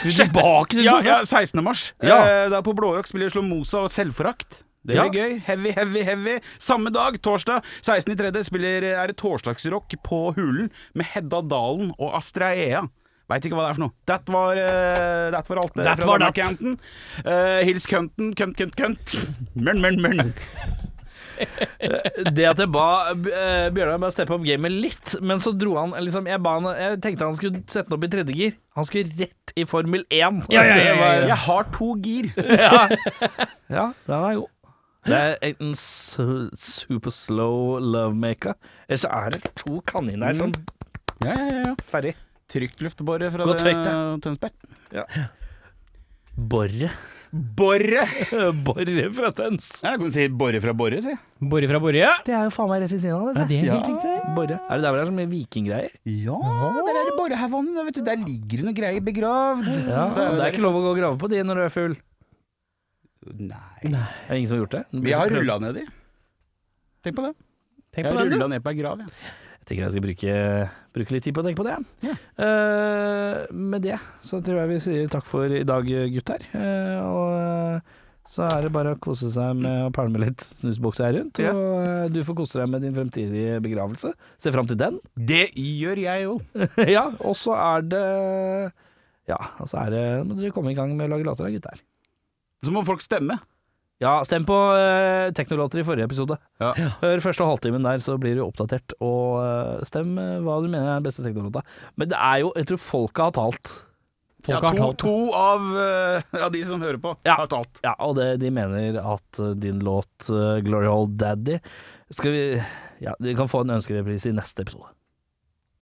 Speaker 2: Skal vi tilbake til
Speaker 3: Ja,
Speaker 2: torsdag?
Speaker 3: ja 16. mars.
Speaker 2: Ja.
Speaker 3: Eh, da på Blårock spiller Slåmosa og Selvforakt. Det blir gøy. Heavy, heavy, heavy. Samme dag, torsdag 16.3., spiller eh, er det torsdagsrock på Hulen med Hedda Dalen og Astrid Ea. Veit ikke hva det er for noe. That var, eh, that var alt. eh,
Speaker 4: That
Speaker 3: fra
Speaker 4: var
Speaker 3: Danmark,
Speaker 4: that.
Speaker 3: Canton. Eh, hils kønten, kønt, kønt, kønt. Mørn, mørn, mørn.
Speaker 2: Det at jeg ba eh, Bjørnar bare steppe opp gamet litt, men så dro han liksom Jeg, ba han, jeg tenkte han skulle sette den opp i tredje gir. Han skulle rett i Formel 1.
Speaker 4: Ja, ja, ja, ja, ja.
Speaker 3: Jeg har to gir.
Speaker 2: Ja, den er god. Det er en su super slow lovemaker. Eller så er det to kaniner som
Speaker 3: Ja, ja, ja.
Speaker 2: Ferdig.
Speaker 3: Trygt luftbore fra
Speaker 2: Godt
Speaker 3: det-
Speaker 2: høyt,
Speaker 3: Tønsberg.
Speaker 2: Borre.
Speaker 3: Borre!
Speaker 2: Borre fra Tøns.
Speaker 3: Jeg kunne si Borre fra Borre, si.
Speaker 4: Borre fra Borre.
Speaker 2: Det er jo faen meg rett ved siden av altså. det.
Speaker 4: det er
Speaker 3: Ja.
Speaker 4: helt riktig.
Speaker 2: Borre. Er det der hvor det er så mye vikinggreier?
Speaker 3: Ja, der er det Borrehaugannet. Der, vet du, der ligger det noe greier begravd.
Speaker 2: Ja,
Speaker 3: Så
Speaker 2: det er ikke lov å gå og grave på de når du er full.
Speaker 3: Nei.
Speaker 2: Er det ingen som har gjort det?
Speaker 3: Vi har rulla nedi. Tenk på det.
Speaker 4: Tenk
Speaker 3: Jeg
Speaker 4: på
Speaker 3: har
Speaker 4: den, du.
Speaker 3: rulla ned på ei grav, jeg.
Speaker 2: Jeg tenker jeg skal bruke, bruke litt tid på å tenke på det.
Speaker 3: Ja.
Speaker 2: Eh, med det så tror jeg vi sier takk for i dag, gutter. Eh, og eh, så er det bare å kose seg med å pælme litt snusbokser her rundt.
Speaker 3: Ja.
Speaker 2: Og eh, du får kose deg med din fremtidige begravelse. Se fram til den.
Speaker 3: Det gjør jeg jo.
Speaker 2: ja, og så er det Ja, og så er det må dere komme i gang med å lage låter, da, gutter.
Speaker 3: Så må folk stemme.
Speaker 2: Ja, stem på uh, teknolåter i forrige episode.
Speaker 3: Ja.
Speaker 2: Hør første halvtimen der, så blir du oppdatert. Og eh, stem eh, hva du mener er den beste teknolåta. Men det er jo Jeg tror folka har talt.
Speaker 4: Folk
Speaker 3: ja,
Speaker 4: har
Speaker 3: to,
Speaker 4: talt.
Speaker 3: to av, eh, av de som hører på,
Speaker 2: Ja.
Speaker 3: har talt.
Speaker 2: Ja, og det, de mener at eh, din låt eh, 'Glory Hole Daddy' Skal vi Ja, de kan få en ønskereprise i neste episode.